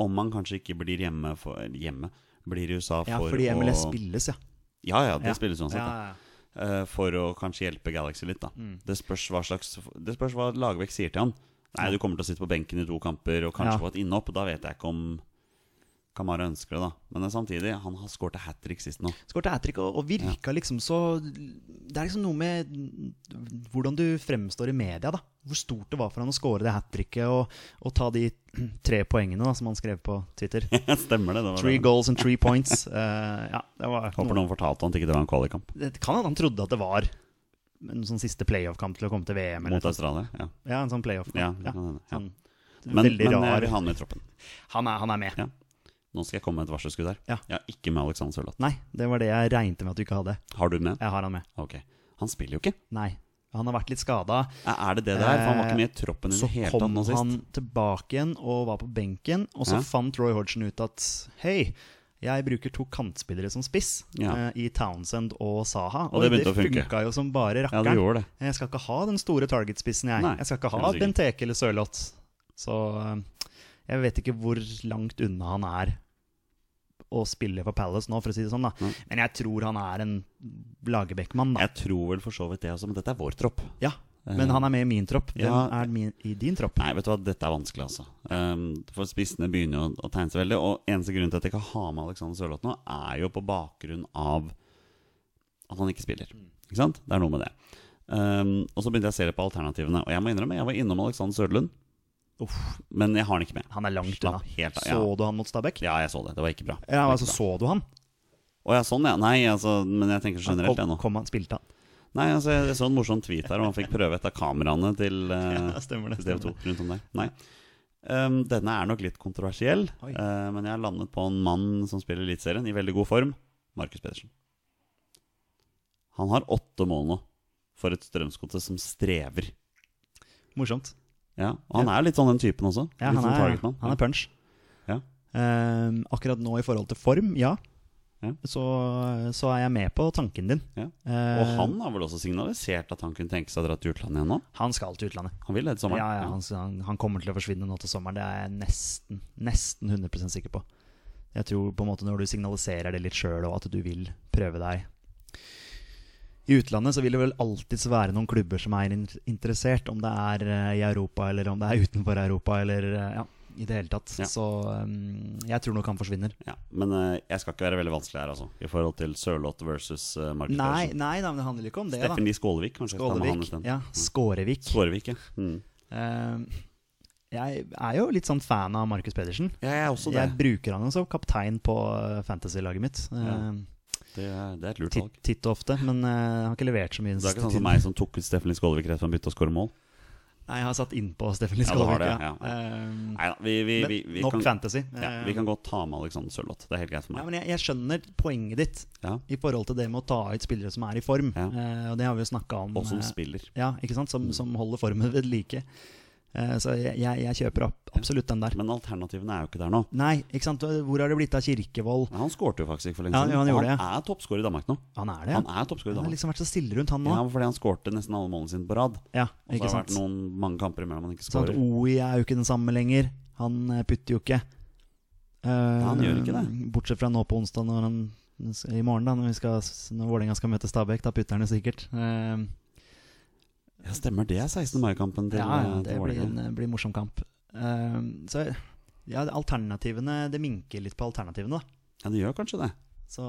[SPEAKER 2] Om han kanskje ikke blir hjemme, for, hjemme blir i USA
[SPEAKER 3] ja,
[SPEAKER 2] for
[SPEAKER 3] fordi
[SPEAKER 2] å
[SPEAKER 3] MLS spilles, ja.
[SPEAKER 2] Ja, ja, det
[SPEAKER 3] Ja.
[SPEAKER 2] spilles uansett.
[SPEAKER 3] ja,
[SPEAKER 2] da.
[SPEAKER 3] ja, ja.
[SPEAKER 2] Eh, for å kanskje hjelpe Galaxy litt, da.
[SPEAKER 3] Mm.
[SPEAKER 2] Det spørs hva slags Det spørs hva Lagerbäck sier til han. Nei, du kommer til å sitte på benken i to kamper og kanskje
[SPEAKER 3] Ja.
[SPEAKER 2] få et innhopp. Da vet jeg ikke om Kamara ønsker det, da. Men eh, samtidig, han har skåret hat trick sist nå.
[SPEAKER 3] Skårte hat trick og, og virka liksom så Det er liksom noe med hvordan du fremstår i media, da. Hvor stort det var for han å skåre det hat tricket og, og ta de tre poengene da, som han skrev på Twitter.
[SPEAKER 2] Stemmer det. det var
[SPEAKER 3] Three
[SPEAKER 2] det.
[SPEAKER 3] goals and three points. Eh, ja, det var
[SPEAKER 2] Håper
[SPEAKER 3] noe.
[SPEAKER 2] noen fortalte han at ikke det var en kvalikkamp
[SPEAKER 3] Det kan hende han trodde at det var en sånn siste playoff-kamp til å komme til VM. Eller,
[SPEAKER 2] mot Australia. Ja,
[SPEAKER 3] ja, en sånn playoff-kamp.
[SPEAKER 2] ja, det kan hende. Ja.
[SPEAKER 3] Sånn,
[SPEAKER 2] Men,
[SPEAKER 3] veldig
[SPEAKER 2] men jeg
[SPEAKER 3] rar.
[SPEAKER 2] vil ha han med i troppen.
[SPEAKER 3] Han, er, han er med.
[SPEAKER 2] Ja. Nå skal jeg komme med et varselskudd her.
[SPEAKER 3] Ja.
[SPEAKER 2] Jeg har ikke med Alexander Sørloth.
[SPEAKER 3] Nei, det var det jeg regnet med at du ikke hadde.
[SPEAKER 2] Har du med?
[SPEAKER 3] Jeg har han med.
[SPEAKER 2] Ok. Han spiller jo ikke.
[SPEAKER 3] Nei. Han har vært litt skada.
[SPEAKER 2] Er er det det det er? For han var ikke med i troppen i
[SPEAKER 3] Eh, Så
[SPEAKER 2] det hele tatt
[SPEAKER 3] kom
[SPEAKER 2] nå
[SPEAKER 3] han
[SPEAKER 2] sist.
[SPEAKER 3] tilbake igjen og var på benken, og så
[SPEAKER 2] Ja.
[SPEAKER 3] fant Roy Hodgson ut at hei, jeg bruker to kantspillere som spiss
[SPEAKER 2] Ja.
[SPEAKER 3] eh, i Townsend og Saha.
[SPEAKER 2] Og det begynte å funke.
[SPEAKER 3] funka jo som bare
[SPEAKER 2] Ja,
[SPEAKER 3] rakkeren.
[SPEAKER 2] det gjorde det.
[SPEAKER 3] Jeg skal ikke ha den store targetspissen, jeg.
[SPEAKER 2] Nei,
[SPEAKER 3] jeg skal ikke
[SPEAKER 2] det er
[SPEAKER 3] ha
[SPEAKER 2] sikkert.
[SPEAKER 3] Benteke eller Sørloth. Så eh, jeg vet ikke hvor langt unna han er å spille for Palace nå, for å si det sånn. da. Men jeg tror han er en Lagerbäck-mann, da.
[SPEAKER 2] Jeg tror vel for så vidt det også, men dette er vår tropp.
[SPEAKER 3] Ja. Men han er med i min tropp. Hvem
[SPEAKER 2] Ja.
[SPEAKER 3] er min, i din tropp?
[SPEAKER 2] Nei, vet du hva, dette er vanskelig, altså. Um, for spissene begynner jo å- å tegne seg veldig. Og eneste grunnen til at jeg ikke har med Alexander Sørloth nå, er jo på bakgrunn av at han ikke spiller. Ikke sant? Det er noe med det. Um, og så begynte jeg å se litt på alternativene. Og jeg må innrømme, jeg var innom Alexander Sørlund,
[SPEAKER 3] Uff,
[SPEAKER 2] men jeg har han ikke med.
[SPEAKER 3] han er langt
[SPEAKER 2] Slapp
[SPEAKER 3] unna.
[SPEAKER 2] helt av, ja.
[SPEAKER 3] Så du han mot Stabæk?
[SPEAKER 2] Ja, jeg så det. Det var ikke bra.
[SPEAKER 3] Ja, altså,
[SPEAKER 2] Det var
[SPEAKER 3] så
[SPEAKER 2] ikke bra.
[SPEAKER 3] du han?
[SPEAKER 2] Å ja, sånn, ja. Nei, altså, men jeg tenker generelt, jeg
[SPEAKER 3] Kom-
[SPEAKER 2] nå.
[SPEAKER 3] Kom han, spilte han?
[SPEAKER 2] Nei, altså, jeg så en morsom tweet her, og han fikk prøve et av kameraene til eh,
[SPEAKER 3] stemmer
[SPEAKER 2] TV2 rundt om der. Nei. Um, denne er nok litt kontroversiell,
[SPEAKER 3] Oi.
[SPEAKER 2] eh, men jeg har landet på en mann som spiller Eliteserien i veldig god form. Markus Pedersen. Han har åtte mål nå for et Strømsgodset som strever.
[SPEAKER 3] Morsomt.
[SPEAKER 2] Ja, og han er jo litt sånn den typen også.
[SPEAKER 3] Ja,
[SPEAKER 2] litt
[SPEAKER 3] han,
[SPEAKER 2] sånn
[SPEAKER 3] er,
[SPEAKER 2] targetmann.
[SPEAKER 3] han er punch.
[SPEAKER 2] Ja.
[SPEAKER 3] Ehm, akkurat nå i forhold til form, ja.
[SPEAKER 2] Ja.
[SPEAKER 3] Så, så er jeg med på tanken din.
[SPEAKER 2] Ja. Og
[SPEAKER 3] Ehm,
[SPEAKER 2] han har vel også signalisert at han kunne tenke seg å dra til utlandet igjen nå?
[SPEAKER 3] han skal til utlandet.
[SPEAKER 2] Han vil det til
[SPEAKER 3] Ja,
[SPEAKER 2] sommeren?
[SPEAKER 3] ja, han, han- han kommer til å forsvinne nå til sommeren, det er jeg nesten, nesten 100 sikker på. Jeg tror på en måte når du signaliserer det litt sjøl, og at du vil prøve deg I utlandet så vil det vel alltids være noen klubber som er in- interessert, om det er eh, i Europa eller om det er utenfor Europa eller eh, ja, i det hele tatt.
[SPEAKER 2] Ja.
[SPEAKER 3] Så um, jeg tror nok han forsvinner.
[SPEAKER 2] Ja, men eh, jeg skal ikke være veldig vanskelig her, altså. I forhold til Sørloth versus uh, Markus
[SPEAKER 3] Nei,
[SPEAKER 2] Pedersen.
[SPEAKER 3] nei da, men det handler ikke om det, da.
[SPEAKER 2] Steffen Lie Skålevik, kanskje. jeg skal ta med han
[SPEAKER 3] Skålevik.
[SPEAKER 2] isteden.
[SPEAKER 3] Ja, Skårevik.
[SPEAKER 2] Skålevik, ja. Mm.
[SPEAKER 3] Eh, Jeg er jo litt sånn fan av Markus Pedersen.
[SPEAKER 2] Jeg er også det.
[SPEAKER 3] Jeg bruker han jo som kaptein på eh, fantasy-laget mitt. eh,
[SPEAKER 2] Ja. Det er, det er et lurt
[SPEAKER 3] titt,
[SPEAKER 2] valg.
[SPEAKER 3] titt og ofte, men eh, han har ikke levert så mye. den
[SPEAKER 2] Det er ikke
[SPEAKER 3] siste
[SPEAKER 2] sånn som
[SPEAKER 3] tiden.
[SPEAKER 2] meg som tok ut Steffen Lind Skålevik rett før han begynte å skåre mål.
[SPEAKER 3] Nei, jeg har satt innpå Steffen Lie
[SPEAKER 2] Ja, du har
[SPEAKER 3] Skålevik. Ja,
[SPEAKER 2] det, ja.
[SPEAKER 3] Eh,
[SPEAKER 2] Nei da, vi, vi,
[SPEAKER 3] men
[SPEAKER 2] vi, vi,
[SPEAKER 3] nok
[SPEAKER 2] kan,
[SPEAKER 3] fantasy.
[SPEAKER 2] ja,
[SPEAKER 3] Eh,
[SPEAKER 2] vi kan godt ta med Alexander Sørloth. Det er helt greit for
[SPEAKER 3] ja,
[SPEAKER 2] meg.
[SPEAKER 3] men jeg, jeg skjønner poenget ditt
[SPEAKER 2] Ja.
[SPEAKER 3] i forhold til det med å ta ut spillere som er i form.
[SPEAKER 2] Ja.
[SPEAKER 3] Eh, og det har vi jo snakka om.
[SPEAKER 2] Og som
[SPEAKER 3] eh,
[SPEAKER 2] spiller. Mm.
[SPEAKER 3] ja, ikke sant? Som, som holder formen ved like. Eh, så jeg, jeg, jeg kjøper opp, absolutt den der.
[SPEAKER 2] Men alternativene er jo ikke der nå.
[SPEAKER 3] Nei, ikke sant? hvor har det blitt av Kirkevold?
[SPEAKER 2] Men Han skårte jo faktisk for lenge
[SPEAKER 3] Ja,
[SPEAKER 2] siden.
[SPEAKER 3] ja, han
[SPEAKER 2] og
[SPEAKER 3] gjorde
[SPEAKER 2] han er toppskårer i Danmark nå.
[SPEAKER 3] Han er det, ja.
[SPEAKER 2] Han er toppskårer i
[SPEAKER 3] Han har
[SPEAKER 2] Danmark.
[SPEAKER 3] liksom vært så stille rundt, han
[SPEAKER 2] Ja,
[SPEAKER 3] nå.
[SPEAKER 2] men fordi han skårte nesten alle målene sine på rad.
[SPEAKER 3] Ja,
[SPEAKER 2] Og så
[SPEAKER 3] ikke
[SPEAKER 2] har det vært
[SPEAKER 3] sant.
[SPEAKER 2] noen mange kamper imellom han ikke
[SPEAKER 3] Sånn at
[SPEAKER 2] skårer.
[SPEAKER 3] OI er jo ikke den samme lenger. Han eh, putter jo ikke. Eh,
[SPEAKER 2] han gjør ikke det.
[SPEAKER 3] Bortsett fra nå på onsdag, når han, i morgen, da, når, vi skal, når Vålerenga skal møte Stabæk. Da putter han jo sikkert. Eh,
[SPEAKER 2] Ja, stemmer det. er 16. mai-kampen til,
[SPEAKER 3] ja, ja,
[SPEAKER 2] eh,
[SPEAKER 3] det
[SPEAKER 2] til
[SPEAKER 3] blir en
[SPEAKER 2] Vålerenga.
[SPEAKER 3] eh, blir morsom kamp. Eh, så ja, alternativene Det minker litt på alternativene, da.
[SPEAKER 2] Ja, det gjør kanskje det.
[SPEAKER 3] Så,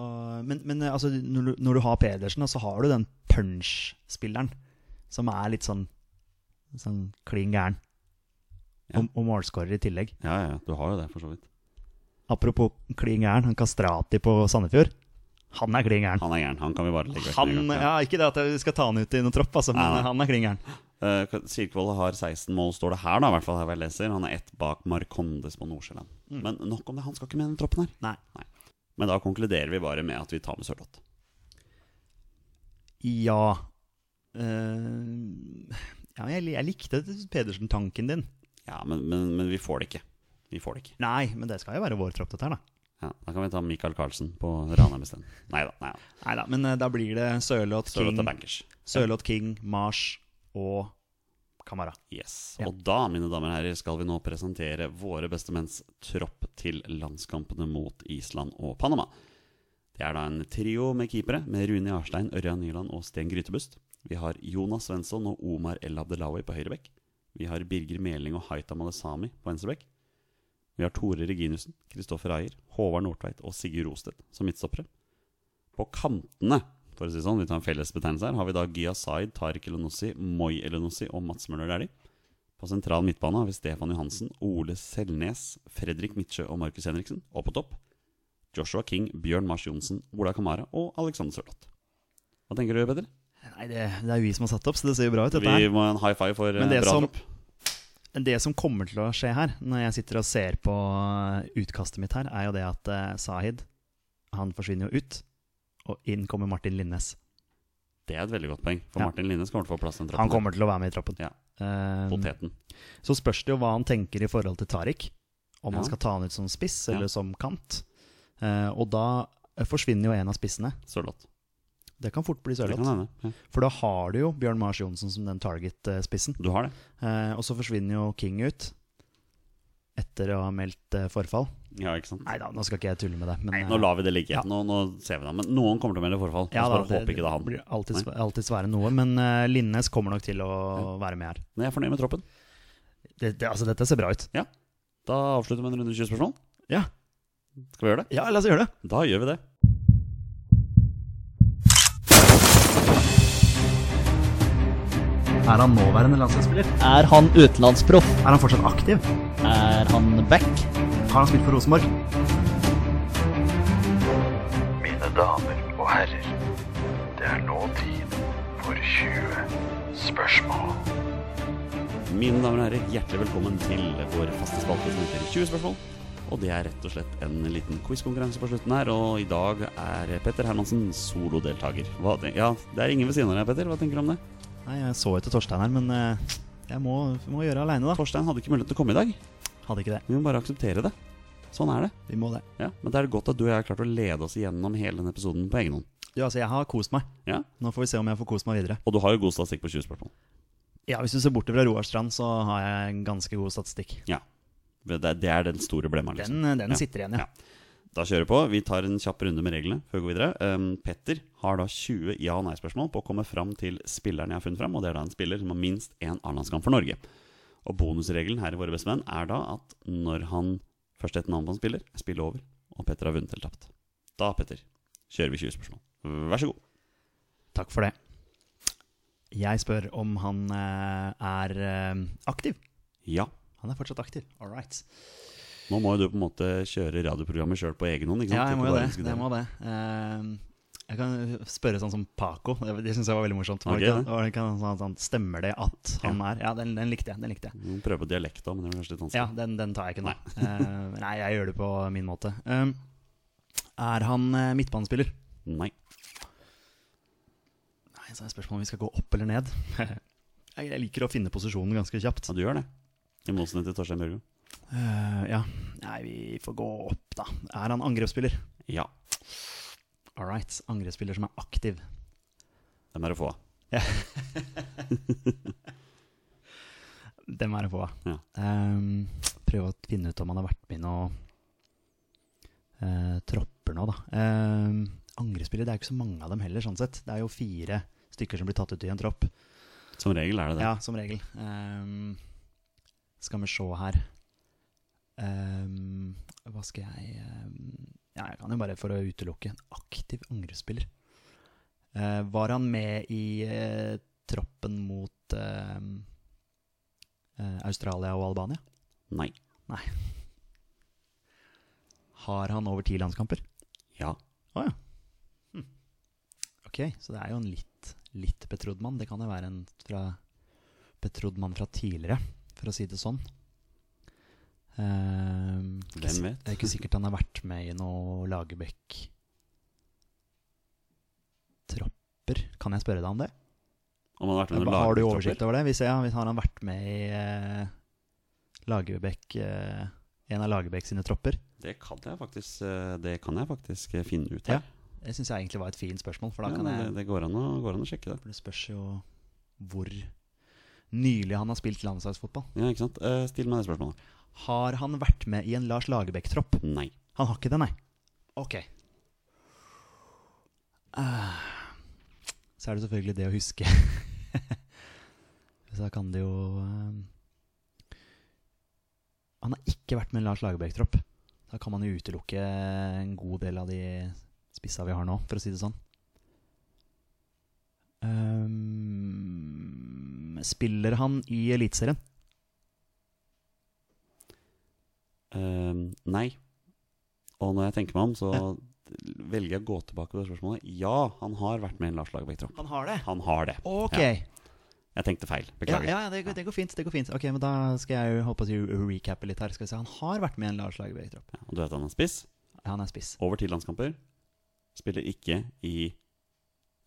[SPEAKER 3] men men eh, altså, når, du, når du har Pedersen, da, så har du den punch-spilleren som er litt sånn, sånn klin gæren.
[SPEAKER 2] Ja.
[SPEAKER 3] Og, og målskårer i tillegg.
[SPEAKER 2] Ja, ja, ja, du har jo det, for så vidt.
[SPEAKER 3] Apropos klin gæren, han Kastrati på Sandefjord. Han er klin gæren.
[SPEAKER 2] Han er gæren. Han kan vi bare legge vekk.
[SPEAKER 3] Han,
[SPEAKER 2] med en gang,
[SPEAKER 3] ja, ikke det at vi skal ta han ut i noen tropp, altså, men
[SPEAKER 2] Nei, nei.
[SPEAKER 3] han er klin gæren.
[SPEAKER 2] Eh, Kirkevold har 16 mål, står det her, da, i hvert fall her hvor jeg leser. Han er ett bak Marcondes på Nordsjælland.
[SPEAKER 3] Mm.
[SPEAKER 2] Men nok om det, han skal ikke med i den troppen her.
[SPEAKER 3] Nei.
[SPEAKER 2] Men da konkluderer vi bare med at vi tar med Sørloth.
[SPEAKER 3] Ja. Eh, ja jeg, jeg likte Pedersen-tanken din.
[SPEAKER 2] Ja, men, men, men vi får det ikke. Vi får det ikke.
[SPEAKER 3] Nei, men det skal jo være vår tropp, dette her, da.
[SPEAKER 2] Ja, da kan vi ta Michael Carlsen på Ranheim isteden. Nei da. Nei da.
[SPEAKER 3] Nei da, men eh, da blir det Sørloth
[SPEAKER 2] Sørloth
[SPEAKER 3] King,
[SPEAKER 2] er bankers.
[SPEAKER 3] Sørloth King, Mars og Kamara.
[SPEAKER 2] Yes.
[SPEAKER 3] Ja.
[SPEAKER 2] Og da, mine damer og herrer, skal vi nå presentere våre bestemenns tropp til landskampene mot Island og Panama. Det er da en trio med keepere, med Rune Jarstein, Ørjan Nyland og Sten Grytebust. Vi har Jonas Svensson og Omar El Abdelawi på høyrebekk. Vi har Birger Meling og Haita Malesami på venstrebekk. Vi har Tore Reginussen, Kristoffer Ayer, Håvard Nordtveit og Sigurd Rostedt som midtstoppere. På kantene, for å si det sånn, vi tar en felles betegnelse her, har vi da Gya Zaid, Tariq Elenossi, Moi Elenossi og Mats Møller Dæhlie. På sentral midtbane har vi Stefan Johansen, Ole Selnes, Fredrik Midtsjø og Markus Henriksen. Og på topp Joshua King, Bjørn Mars Johnsen, Ola Kamara og Alexander Sørloth. Hva tenker du, Peder?
[SPEAKER 3] Nei, det, det er jo vi som har satt opp, så det ser jo bra ut, dette her.
[SPEAKER 2] Vi må ha en high five for eh,
[SPEAKER 3] Men det
[SPEAKER 2] bra
[SPEAKER 3] som-
[SPEAKER 2] tropp.
[SPEAKER 3] Men det som kommer til å skje her, når jeg sitter og ser på eh, utkastet mitt her, er jo det at eh, Sahid han forsvinner jo ut, og inn kommer Martin Linnes.
[SPEAKER 2] Det er et veldig godt poeng, for
[SPEAKER 3] Ja.
[SPEAKER 2] Martin Linnes kommer til å få plass i den
[SPEAKER 3] Han
[SPEAKER 2] troppen.
[SPEAKER 3] kommer til å være med i troppen.
[SPEAKER 2] Ja.
[SPEAKER 3] Eh,
[SPEAKER 2] Poteten.
[SPEAKER 3] så spørs det jo hva han tenker i forhold til Tariq. Om
[SPEAKER 2] Ja.
[SPEAKER 3] han skal ta han ut som spiss
[SPEAKER 2] Ja.
[SPEAKER 3] eller som kant. Eh, og da forsvinner jo en av spissene.
[SPEAKER 2] Sørloth.
[SPEAKER 3] Det kan fort bli
[SPEAKER 2] Det
[SPEAKER 3] Sørloth.
[SPEAKER 2] kan hende. Ja.
[SPEAKER 3] For da har du jo Bjørn Mars Johnsen som den target-spissen.
[SPEAKER 2] Du har det.
[SPEAKER 3] Eh, og så forsvinner jo King ut etter å ha meldt eh, forfall.
[SPEAKER 2] Ja, ikke sant?
[SPEAKER 3] Nei da, nå skal ikke jeg tulle med det. Men, eh,
[SPEAKER 2] Nå lar vi det ligge.
[SPEAKER 3] Ja.
[SPEAKER 2] Nå, nå ser vi det. Men noen kommer til å melde forfall. Ja, bare håper ikke det er han.
[SPEAKER 3] blir alltid, sv- alltid svære noe, men eh, Linnes kommer nok til å være med her.
[SPEAKER 2] Men jeg er fornøyd med troppen.
[SPEAKER 3] Det, det, altså, dette ser bra ut.
[SPEAKER 2] Da avslutter vi med en runde 20 spørsmål.
[SPEAKER 3] Ja.
[SPEAKER 2] Skal vi gjøre det?
[SPEAKER 3] Ja, la oss gjøre det.
[SPEAKER 2] Da gjør vi det.
[SPEAKER 3] Er han nåværende landslagsspiller?
[SPEAKER 1] Er han utenlandsproff?
[SPEAKER 3] Er han fortsatt aktiv?
[SPEAKER 1] Er han back?
[SPEAKER 3] Har han spilt for Rosenborg?
[SPEAKER 5] Mine damer og herrer, det er nå tid for 20 spørsmål.
[SPEAKER 2] Mine damer og herrer, hjertelig velkommen til vår faste spalte som heter 20 spørsmål. Og det er rett og slett en liten quizkonkurranse på slutten her, og i dag er Petter Hermansen solodeltaker. Hva ten- Ja, det er ingen ved siden av deg, Petter. Hva tenker du om det?
[SPEAKER 3] Nei, jeg så etter Torstein her, men eh, jeg må, må gjøre det aleine, da.
[SPEAKER 2] Torstein hadde ikke mulighet til å komme i dag.
[SPEAKER 3] Hadde ikke det.
[SPEAKER 2] Vi må bare akseptere det. Sånn er det.
[SPEAKER 3] Vi må det.
[SPEAKER 2] Ja, Men det er godt at du og jeg har klart å lede oss igjennom hele denne episoden på egen hånd.
[SPEAKER 3] Du, altså, jeg har kost meg.
[SPEAKER 2] Ja,
[SPEAKER 3] Nå får vi se om jeg får kost meg videre.
[SPEAKER 2] Og du har jo god statistikk på 20 spørsmål.
[SPEAKER 3] Ja, Hvis du ser bort fra Roar Strand, så har jeg en ganske god statistikk.
[SPEAKER 2] Ja. Det er, det er den store blemma. liksom.
[SPEAKER 3] Den, eh, den
[SPEAKER 2] Ja.
[SPEAKER 3] sitter igjen, ja.
[SPEAKER 2] Ja. Da kjører vi på. Vi tar en kjapp runde med reglene før vi går videre. Um, Petter har da 20 ja- og nei-spørsmål på å komme fram til spilleren jeg har funnet fram, og det er da en spiller som har minst én A-landskamp for Norge. Og bonusregelen her i Våre bestemenn er da at når han først heter navnet på en spiller, er spillet over, og Petter har vunnet eller tapt. Da, Petter, kjører vi 20 spørsmål. Vær så god.
[SPEAKER 3] Takk for det. Jeg spør om han eh, er eh, aktiv.
[SPEAKER 2] Ja.
[SPEAKER 3] Han Han er fortsatt aktiv. All right.
[SPEAKER 2] Nå må jo du på en måte kjøre radioprogrammet sjøl på egen hånd. ikke sant?
[SPEAKER 3] Ja, jeg må
[SPEAKER 2] Ikke
[SPEAKER 3] jo
[SPEAKER 2] bare
[SPEAKER 3] det.
[SPEAKER 2] diskutere.
[SPEAKER 3] Jeg, må det. Ehm, jeg kan spørre sånn som Paco. Det, det syns jeg var veldig morsomt. Var
[SPEAKER 2] Ok,
[SPEAKER 3] det ikke-
[SPEAKER 2] ja.
[SPEAKER 3] var det ikke han sånn, sånn, Stemmer det at han er Ja, den, den likte jeg. Den likte jeg.
[SPEAKER 2] Vi må prøve på dialekta, men det blir kanskje litt vanskelig.
[SPEAKER 3] Ja, den, den tar jeg ikke nå. Ehm, nei, jeg gjør det på min måte. Ehm, er han eh, midtbanespiller?
[SPEAKER 2] Nei.
[SPEAKER 3] Nei, så er spørsmålet om vi skal gå opp eller ned. Jeg jeg liker å finne posisjonen ganske kjapt.
[SPEAKER 2] Ja, du gjør det. I motsetning til Torstein Bjørgo.
[SPEAKER 3] Eh, ja. Nei, vi får gå opp, da. Er han angrepsspiller?
[SPEAKER 2] Ja.
[SPEAKER 3] All right. Angrepsspiller som er aktiv.
[SPEAKER 2] Dem er det få av.
[SPEAKER 3] Dem er det få av.
[SPEAKER 2] Ja.
[SPEAKER 3] Ehm, prøve å finne ut om han har vært med i noe eh, tropper nå, da. Ehm, angrepsspillere, det er jo ikke så mange av dem heller, sånn sett. Det er jo fire stykker som blir tatt ut i en tropp.
[SPEAKER 2] Som regel er det det.
[SPEAKER 3] Ja, som regel. Ehm, skal vi se her Ehm, Hva skal jeg ehm, Ja, jeg kan jo bare for å utelukke en aktiv angrepsspiller. Eh, var han med i eh, troppen mot ehm, eh, Australia og Albania?
[SPEAKER 2] Nei.
[SPEAKER 3] Har han over ti landskamper?
[SPEAKER 2] Ja.
[SPEAKER 3] Å ja. Hm. Ok, så det er jo en litt, litt betrodd mann. Det kan jo være en fra, betrodd mann fra tidligere, for å si det sånn. Ehm, ikke
[SPEAKER 2] Hvem
[SPEAKER 3] si-
[SPEAKER 2] vet?
[SPEAKER 3] Det er ikke sikkert han har vært med i noe Lagerbäck-tropper. Kan jeg spørre deg om det?
[SPEAKER 2] Om han har vært med i noen
[SPEAKER 3] Har du oversikt
[SPEAKER 2] lagtropper?
[SPEAKER 3] over det? Hvis jeg, hvis har han vært med i eh, Lagerbäck, eh, en av Lagerbäck sine tropper?
[SPEAKER 2] Det kan jeg faktisk, eh, det kan jeg faktisk eh, finne ut
[SPEAKER 3] Ja,
[SPEAKER 2] her.
[SPEAKER 3] Det syns jeg egentlig var et fint spørsmål, for da
[SPEAKER 2] Ja,
[SPEAKER 3] kan jeg
[SPEAKER 2] det, det går, an å, går an å sjekke det.
[SPEAKER 3] For det spørs jo hvor nylig han har spilt landslagsfotball.
[SPEAKER 2] Ja, ikke sant? Eh, Still meg det spørsmålet.
[SPEAKER 3] Har han vært med i en Lars Lagerbäck-tropp?
[SPEAKER 2] Nei.
[SPEAKER 3] Han har ikke det, nei. Ok. Eh, Så er det selvfølgelig det å huske. Så da kan det jo eh, Han har ikke vært med en Lars Lagerbäck-tropp. Da kan man jo utelukke en god del av de spissa vi har nå, for å si det sånn. Eh, spiller han i Eliteserien?
[SPEAKER 2] Eh, nei. Og når jeg tenker meg om, så velger jeg å gå tilbake på det spørsmålet. Ja, han har vært med i en Lars Lagerbäck-tropp.
[SPEAKER 3] Han har det.
[SPEAKER 2] Han har det.
[SPEAKER 3] Ok.
[SPEAKER 2] Ja. Jeg tenkte feil.
[SPEAKER 3] Ja,
[SPEAKER 2] Beklager.
[SPEAKER 3] ja ja, det, går, det går fint. det går fint Ok, men Da skal jeg jo holde på å si recappe litt her. Skal vi se, Han har vært med i en Lars Lagerbäck-tropp.
[SPEAKER 2] Ja, Og du vet at han er spiss.
[SPEAKER 3] Ja, han er spiss.
[SPEAKER 2] Over ti landskamper. Spiller ikke i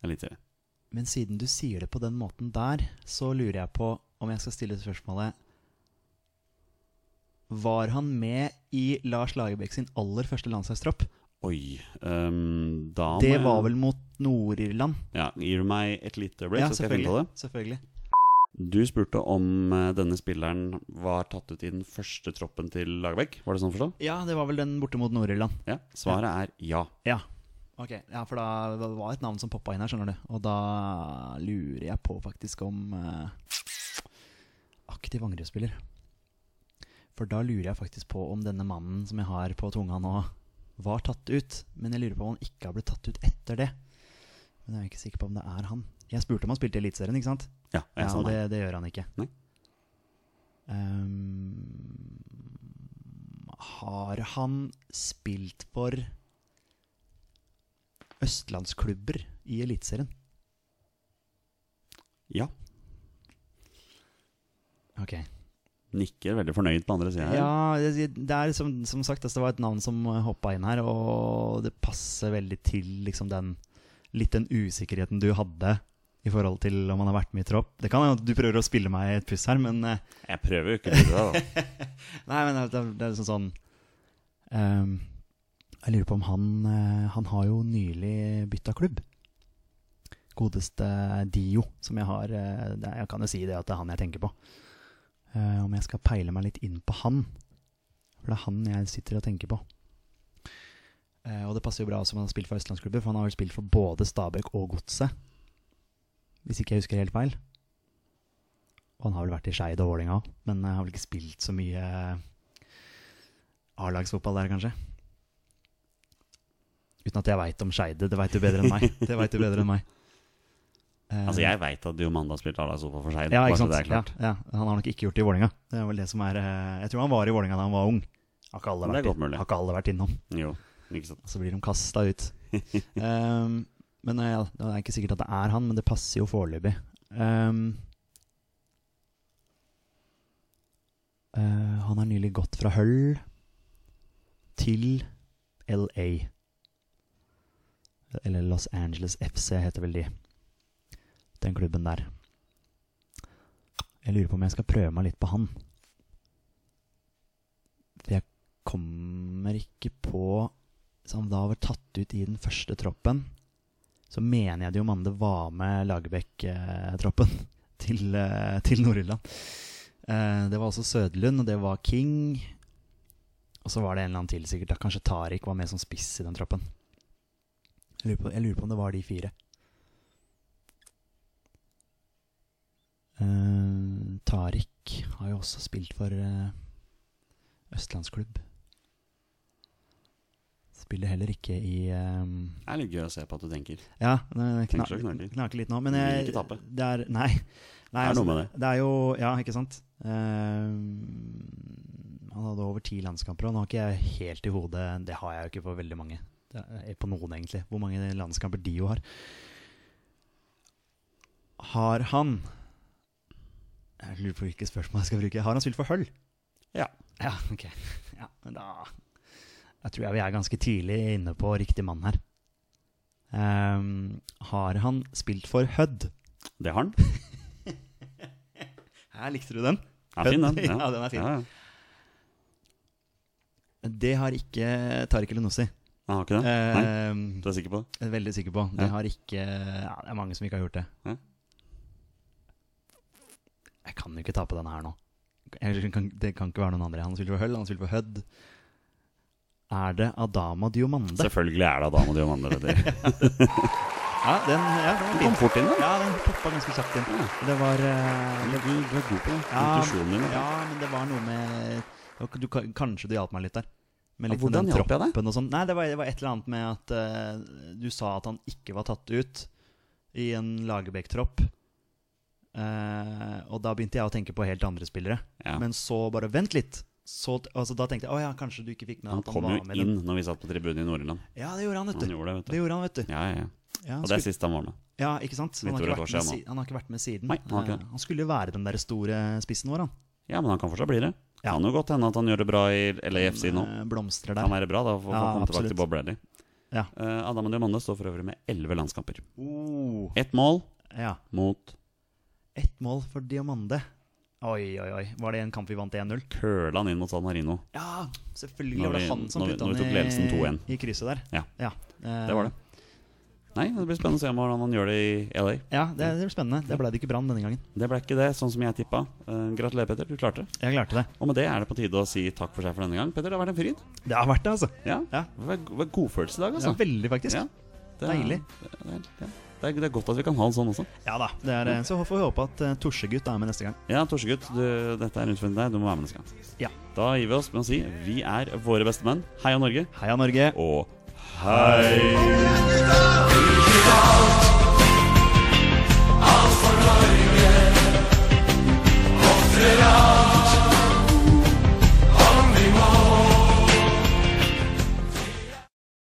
[SPEAKER 2] Eliteserien.
[SPEAKER 3] Men siden du sier det på den måten der, så lurer jeg på om jeg skal stille spørsmålet Var han med i Lars Lagerbäck sin aller første landslagstropp?
[SPEAKER 2] Oi. ehm, da må
[SPEAKER 3] Det
[SPEAKER 2] jeg-
[SPEAKER 3] var vel mot Nord-Irland?
[SPEAKER 2] Ja, Gir du meg et lite øyeblikk,
[SPEAKER 3] Ja,
[SPEAKER 2] så skal jeg finne på
[SPEAKER 3] selvfølgelig.
[SPEAKER 2] det?
[SPEAKER 3] selvfølgelig.
[SPEAKER 2] Du spurte om eh, denne spilleren var tatt ut i den første troppen til Lagerbäck. Var det sånn forstått?
[SPEAKER 3] Ja, det var vel den borte mot Nord-Irland.
[SPEAKER 2] Ja. Svaret er ja.
[SPEAKER 3] Ja. Ok, ja, for da det var et navn som poppa inn her, skjønner du. Og da lurer jeg på faktisk om eh, aktiv angrepsspiller. For da lurer jeg faktisk på om denne mannen som jeg har på tunga nå, var tatt ut. Men jeg lurer på om han ikke har blitt tatt ut etter det. Men jeg er ikke sikker på om det er han. Jeg spurte om han spilte i Eliteserien, ikke sant?
[SPEAKER 2] Ja, jeg
[SPEAKER 3] Ja,
[SPEAKER 2] sa
[SPEAKER 3] og
[SPEAKER 2] nei.
[SPEAKER 3] det, det gjør han ikke.
[SPEAKER 2] Nei.
[SPEAKER 3] Ehm, har han spilt for østlandsklubber i Eliteserien?
[SPEAKER 2] Ja.
[SPEAKER 3] Ok.
[SPEAKER 2] Nikker veldig fornøyd på andre sida her.
[SPEAKER 3] Ja, det det er som, som sagt, altså, det var et navn som hoppa inn her, og det passer veldig til liksom den litt den usikkerheten du hadde i forhold til om han har vært med i tropp. Det kan hende at du prøver å spille meg et puss her, men eh,
[SPEAKER 2] Jeg prøver jo ikke å lure deg, da.
[SPEAKER 3] Nei, men det, er- det er liksom sånn ehm, Jeg lurer på om han eh, Han har jo nylig bytta klubb. Godeste Dio, som jeg har eh, det, er- Jeg kan jo si det at det er han jeg tenker på. Eh, om jeg skal peile meg litt inn på han. For det er han jeg sitter og tenker på. Eh, og det passer jo bra også om han har spilt for østlandsklubber, for han har vel spilt for både Stabæk og Godset. Hvis ikke jeg husker helt feil. Og han har vel vært i Skeid og Vålerenga òg, men eh, har vel ikke spilt så mye eh, A-lagsfotball der, kanskje. Uten at jeg veit om Skeide. Det veit du bedre enn meg. Det vet du bedre enn meg. Eh,
[SPEAKER 2] Altså, jeg veit at Diomanda spilte A-lagsfotball for seg.
[SPEAKER 3] ja,
[SPEAKER 2] bare
[SPEAKER 3] ikke
[SPEAKER 2] så
[SPEAKER 3] sant?
[SPEAKER 2] det er
[SPEAKER 3] Ja,
[SPEAKER 2] klart.
[SPEAKER 3] ja, han har nok ikke gjort det i Vålinga. Det er vel det som er eh, Jeg tror han var i Vålinga da han var ung. Har ikke alle
[SPEAKER 2] Det er
[SPEAKER 3] vært,
[SPEAKER 2] godt mulig.
[SPEAKER 3] har ikke alle vært innom.
[SPEAKER 2] Jo, ikke sant.
[SPEAKER 3] Så blir de kasta ut. Ehm, men eh, ja, det er ikke sikkert at det er han, men det passer jo foreløpig. Ehm, eh, han har nylig gått fra Hull til LA. Eller Los Angeles FC heter vel de. Den klubben der. Jeg lurer på om jeg skal prøve meg litt på han. For jeg kommer ikke på som da var tatt ut i den første troppen, så mener jeg det jo Mande var med Lagerbäck-troppen til, eh, til Nord-Irland. Eh, det var også Sødlund, og det var King. Og så var det en eller annen til, sikkert. da Kanskje Tariq var med som spiss i den troppen. Jeg lurer på, jeg lurer på om det var de fire. Eh, Tariq har jo også spilt for eh, Østlandsklubb. Spiller heller ikke i ehm,
[SPEAKER 2] Det er litt gøy å se på at du tenker.
[SPEAKER 3] Ja, det
[SPEAKER 2] Tenker
[SPEAKER 3] kna
[SPEAKER 2] så det knaker.
[SPEAKER 3] knaker litt nå, men
[SPEAKER 2] Vil
[SPEAKER 3] jeg
[SPEAKER 2] ikke tape.
[SPEAKER 3] Det er Nei. nei altså,
[SPEAKER 2] Det er noe med
[SPEAKER 3] det er jo Ja, ikke sant. Ehm, han hadde over ti landskamper, og nå har ikke jeg helt i hodet Det har jeg jo ikke på veldig mange. Det er eh, på noen, egentlig. Hvor mange landskamper de jo har. Har han Jeg lurer på hvilke spørsmål jeg skal bruke. Har han spilt for Hull?
[SPEAKER 2] Ja.
[SPEAKER 3] Ja, ok. Ja, men da Jeg tror jeg vi er ganske tidlig inne på riktig mann her. Ehm, har han spilt for Hødd?
[SPEAKER 2] Det har han.
[SPEAKER 3] Her likte du den.
[SPEAKER 2] Den er fin, den.
[SPEAKER 3] Ja, den er fin.
[SPEAKER 2] Ja, ja.
[SPEAKER 3] Det har ikke Tariq Elenossi.
[SPEAKER 2] Han har ikke det? Nei?
[SPEAKER 3] Ehm,
[SPEAKER 2] Du er sikker på det?
[SPEAKER 3] jeg er veldig sikker på. Det
[SPEAKER 2] Ja.
[SPEAKER 3] har ikke ja, Det er mange som ikke har gjort det.
[SPEAKER 2] Ja.
[SPEAKER 3] Jeg kan jo ikke ta på denne her nå. Jeg kan, det kan ikke være noen andre. Han spiller for Hull, han spiller for Hødd. Er det Adama Diomande?
[SPEAKER 2] Selvfølgelig er det Adam og Diomanda. vet du.
[SPEAKER 3] Ja, den, ja, den
[SPEAKER 2] Du
[SPEAKER 3] var
[SPEAKER 2] kom
[SPEAKER 3] fin.
[SPEAKER 2] fort inn, da.
[SPEAKER 3] Ja, den poppa ganske kjapt inn.
[SPEAKER 2] Ja.
[SPEAKER 3] Det var eh,
[SPEAKER 2] Du,
[SPEAKER 3] det,
[SPEAKER 2] du er god på det.
[SPEAKER 3] Ja,
[SPEAKER 2] Intuisjonen din. da.
[SPEAKER 3] Ja, men det var noe med du, kan- Kanskje du hjalp meg litt der. Med
[SPEAKER 2] Ja,
[SPEAKER 3] litt med
[SPEAKER 2] hvordan
[SPEAKER 3] den
[SPEAKER 2] hjalp jeg deg?
[SPEAKER 3] troppen og sånn. Nei, det var, det var et eller annet med at eh, du sa at han ikke var tatt ut i en Lagerbäck-tropp. Eh, og da begynte jeg å tenke på helt andre spillere.
[SPEAKER 2] Ja.
[SPEAKER 3] Men så bare Vent litt! Så, t- altså, da tenkte jeg å ja, kanskje du ikke fikk med
[SPEAKER 2] Han
[SPEAKER 3] at han
[SPEAKER 2] kom
[SPEAKER 3] var
[SPEAKER 2] jo
[SPEAKER 3] med i den.
[SPEAKER 2] inn når vi satt på tribunen i Nord-Irland.
[SPEAKER 3] Ja, det gjorde han, vet
[SPEAKER 2] Han
[SPEAKER 3] du.
[SPEAKER 2] gjorde det, vet
[SPEAKER 3] Det
[SPEAKER 2] du.
[SPEAKER 3] gjorde han, vet du.
[SPEAKER 2] Ja, ja, ja.
[SPEAKER 3] Ja, han
[SPEAKER 2] Og det er
[SPEAKER 3] skulle-
[SPEAKER 2] sist han var med.
[SPEAKER 3] ja, ikke sant? Han har ikke,
[SPEAKER 2] Litt over et
[SPEAKER 3] vært
[SPEAKER 2] år
[SPEAKER 3] med
[SPEAKER 2] siden
[SPEAKER 3] si, han har ikke vært med siden.
[SPEAKER 2] Nei, han har ikke
[SPEAKER 3] Eh,
[SPEAKER 2] det.
[SPEAKER 3] han skulle være den der store spissen vår, han.
[SPEAKER 2] Ja, men han kan fortsatt bli det.
[SPEAKER 3] Ja.
[SPEAKER 2] Kan jo godt hende at han gjør det bra i LAFC nå.
[SPEAKER 3] Eh, Blomstrer der.
[SPEAKER 2] Han er det bra, da, for å
[SPEAKER 3] Ja,
[SPEAKER 2] komme tilbake
[SPEAKER 3] absolutt.
[SPEAKER 2] til Bob Bradley.
[SPEAKER 3] Ja.
[SPEAKER 2] Eh, Adam og Diomande står for øvrig med elleve landskamper.
[SPEAKER 3] Oh.
[SPEAKER 2] Ett mål
[SPEAKER 3] Ja.
[SPEAKER 2] mot
[SPEAKER 3] Ett mål for Diamande. Oi, oi, oi. Var det en kamp vi vant 1-0?
[SPEAKER 2] Kølan inn mot San Marino.
[SPEAKER 3] Ja, selvfølgelig
[SPEAKER 2] Når
[SPEAKER 3] var det
[SPEAKER 2] vi-
[SPEAKER 3] han som
[SPEAKER 2] når vi-
[SPEAKER 3] putta
[SPEAKER 2] når vi tok ledelsen 2-1.
[SPEAKER 3] den i, i krysset der.
[SPEAKER 2] Ja.
[SPEAKER 3] Eh,
[SPEAKER 2] Det var det. Nei, det blir spennende å se om hvordan han gjør det i LA.
[SPEAKER 3] Ja, det, det blir spennende. Det ble det ikke brann denne gangen.
[SPEAKER 2] Det ble ikke det, sånn som jeg tippa. Eh, gratulerer, Petter. Du klarte det.
[SPEAKER 3] Jeg klarte det.
[SPEAKER 2] Og med det er det på tide å si takk for seg for denne gang. Petter, det har vært en fryd.
[SPEAKER 3] Det har vært det, altså.
[SPEAKER 2] Ja.
[SPEAKER 3] Ja.
[SPEAKER 2] Det var, det var godfølelse i dag,
[SPEAKER 3] Ja,
[SPEAKER 2] altså.
[SPEAKER 3] veldig, faktisk. Ja,
[SPEAKER 2] Ja. Det er-
[SPEAKER 3] Deilig.
[SPEAKER 2] Det er, det, er, det, er, det er godt at vi kan ha en sånn også.
[SPEAKER 3] da. Det er, eh, så får vi håpe at eh, Torsegutt er med neste gang.
[SPEAKER 2] Ja, Torsegutt, du- dette er en utfordring til deg. Du må være med neste gang.
[SPEAKER 3] Ja.
[SPEAKER 2] Da gir vi oss med å si vi er våre beste menn. Heia Norge.
[SPEAKER 3] Heia Norge.
[SPEAKER 2] Og hei!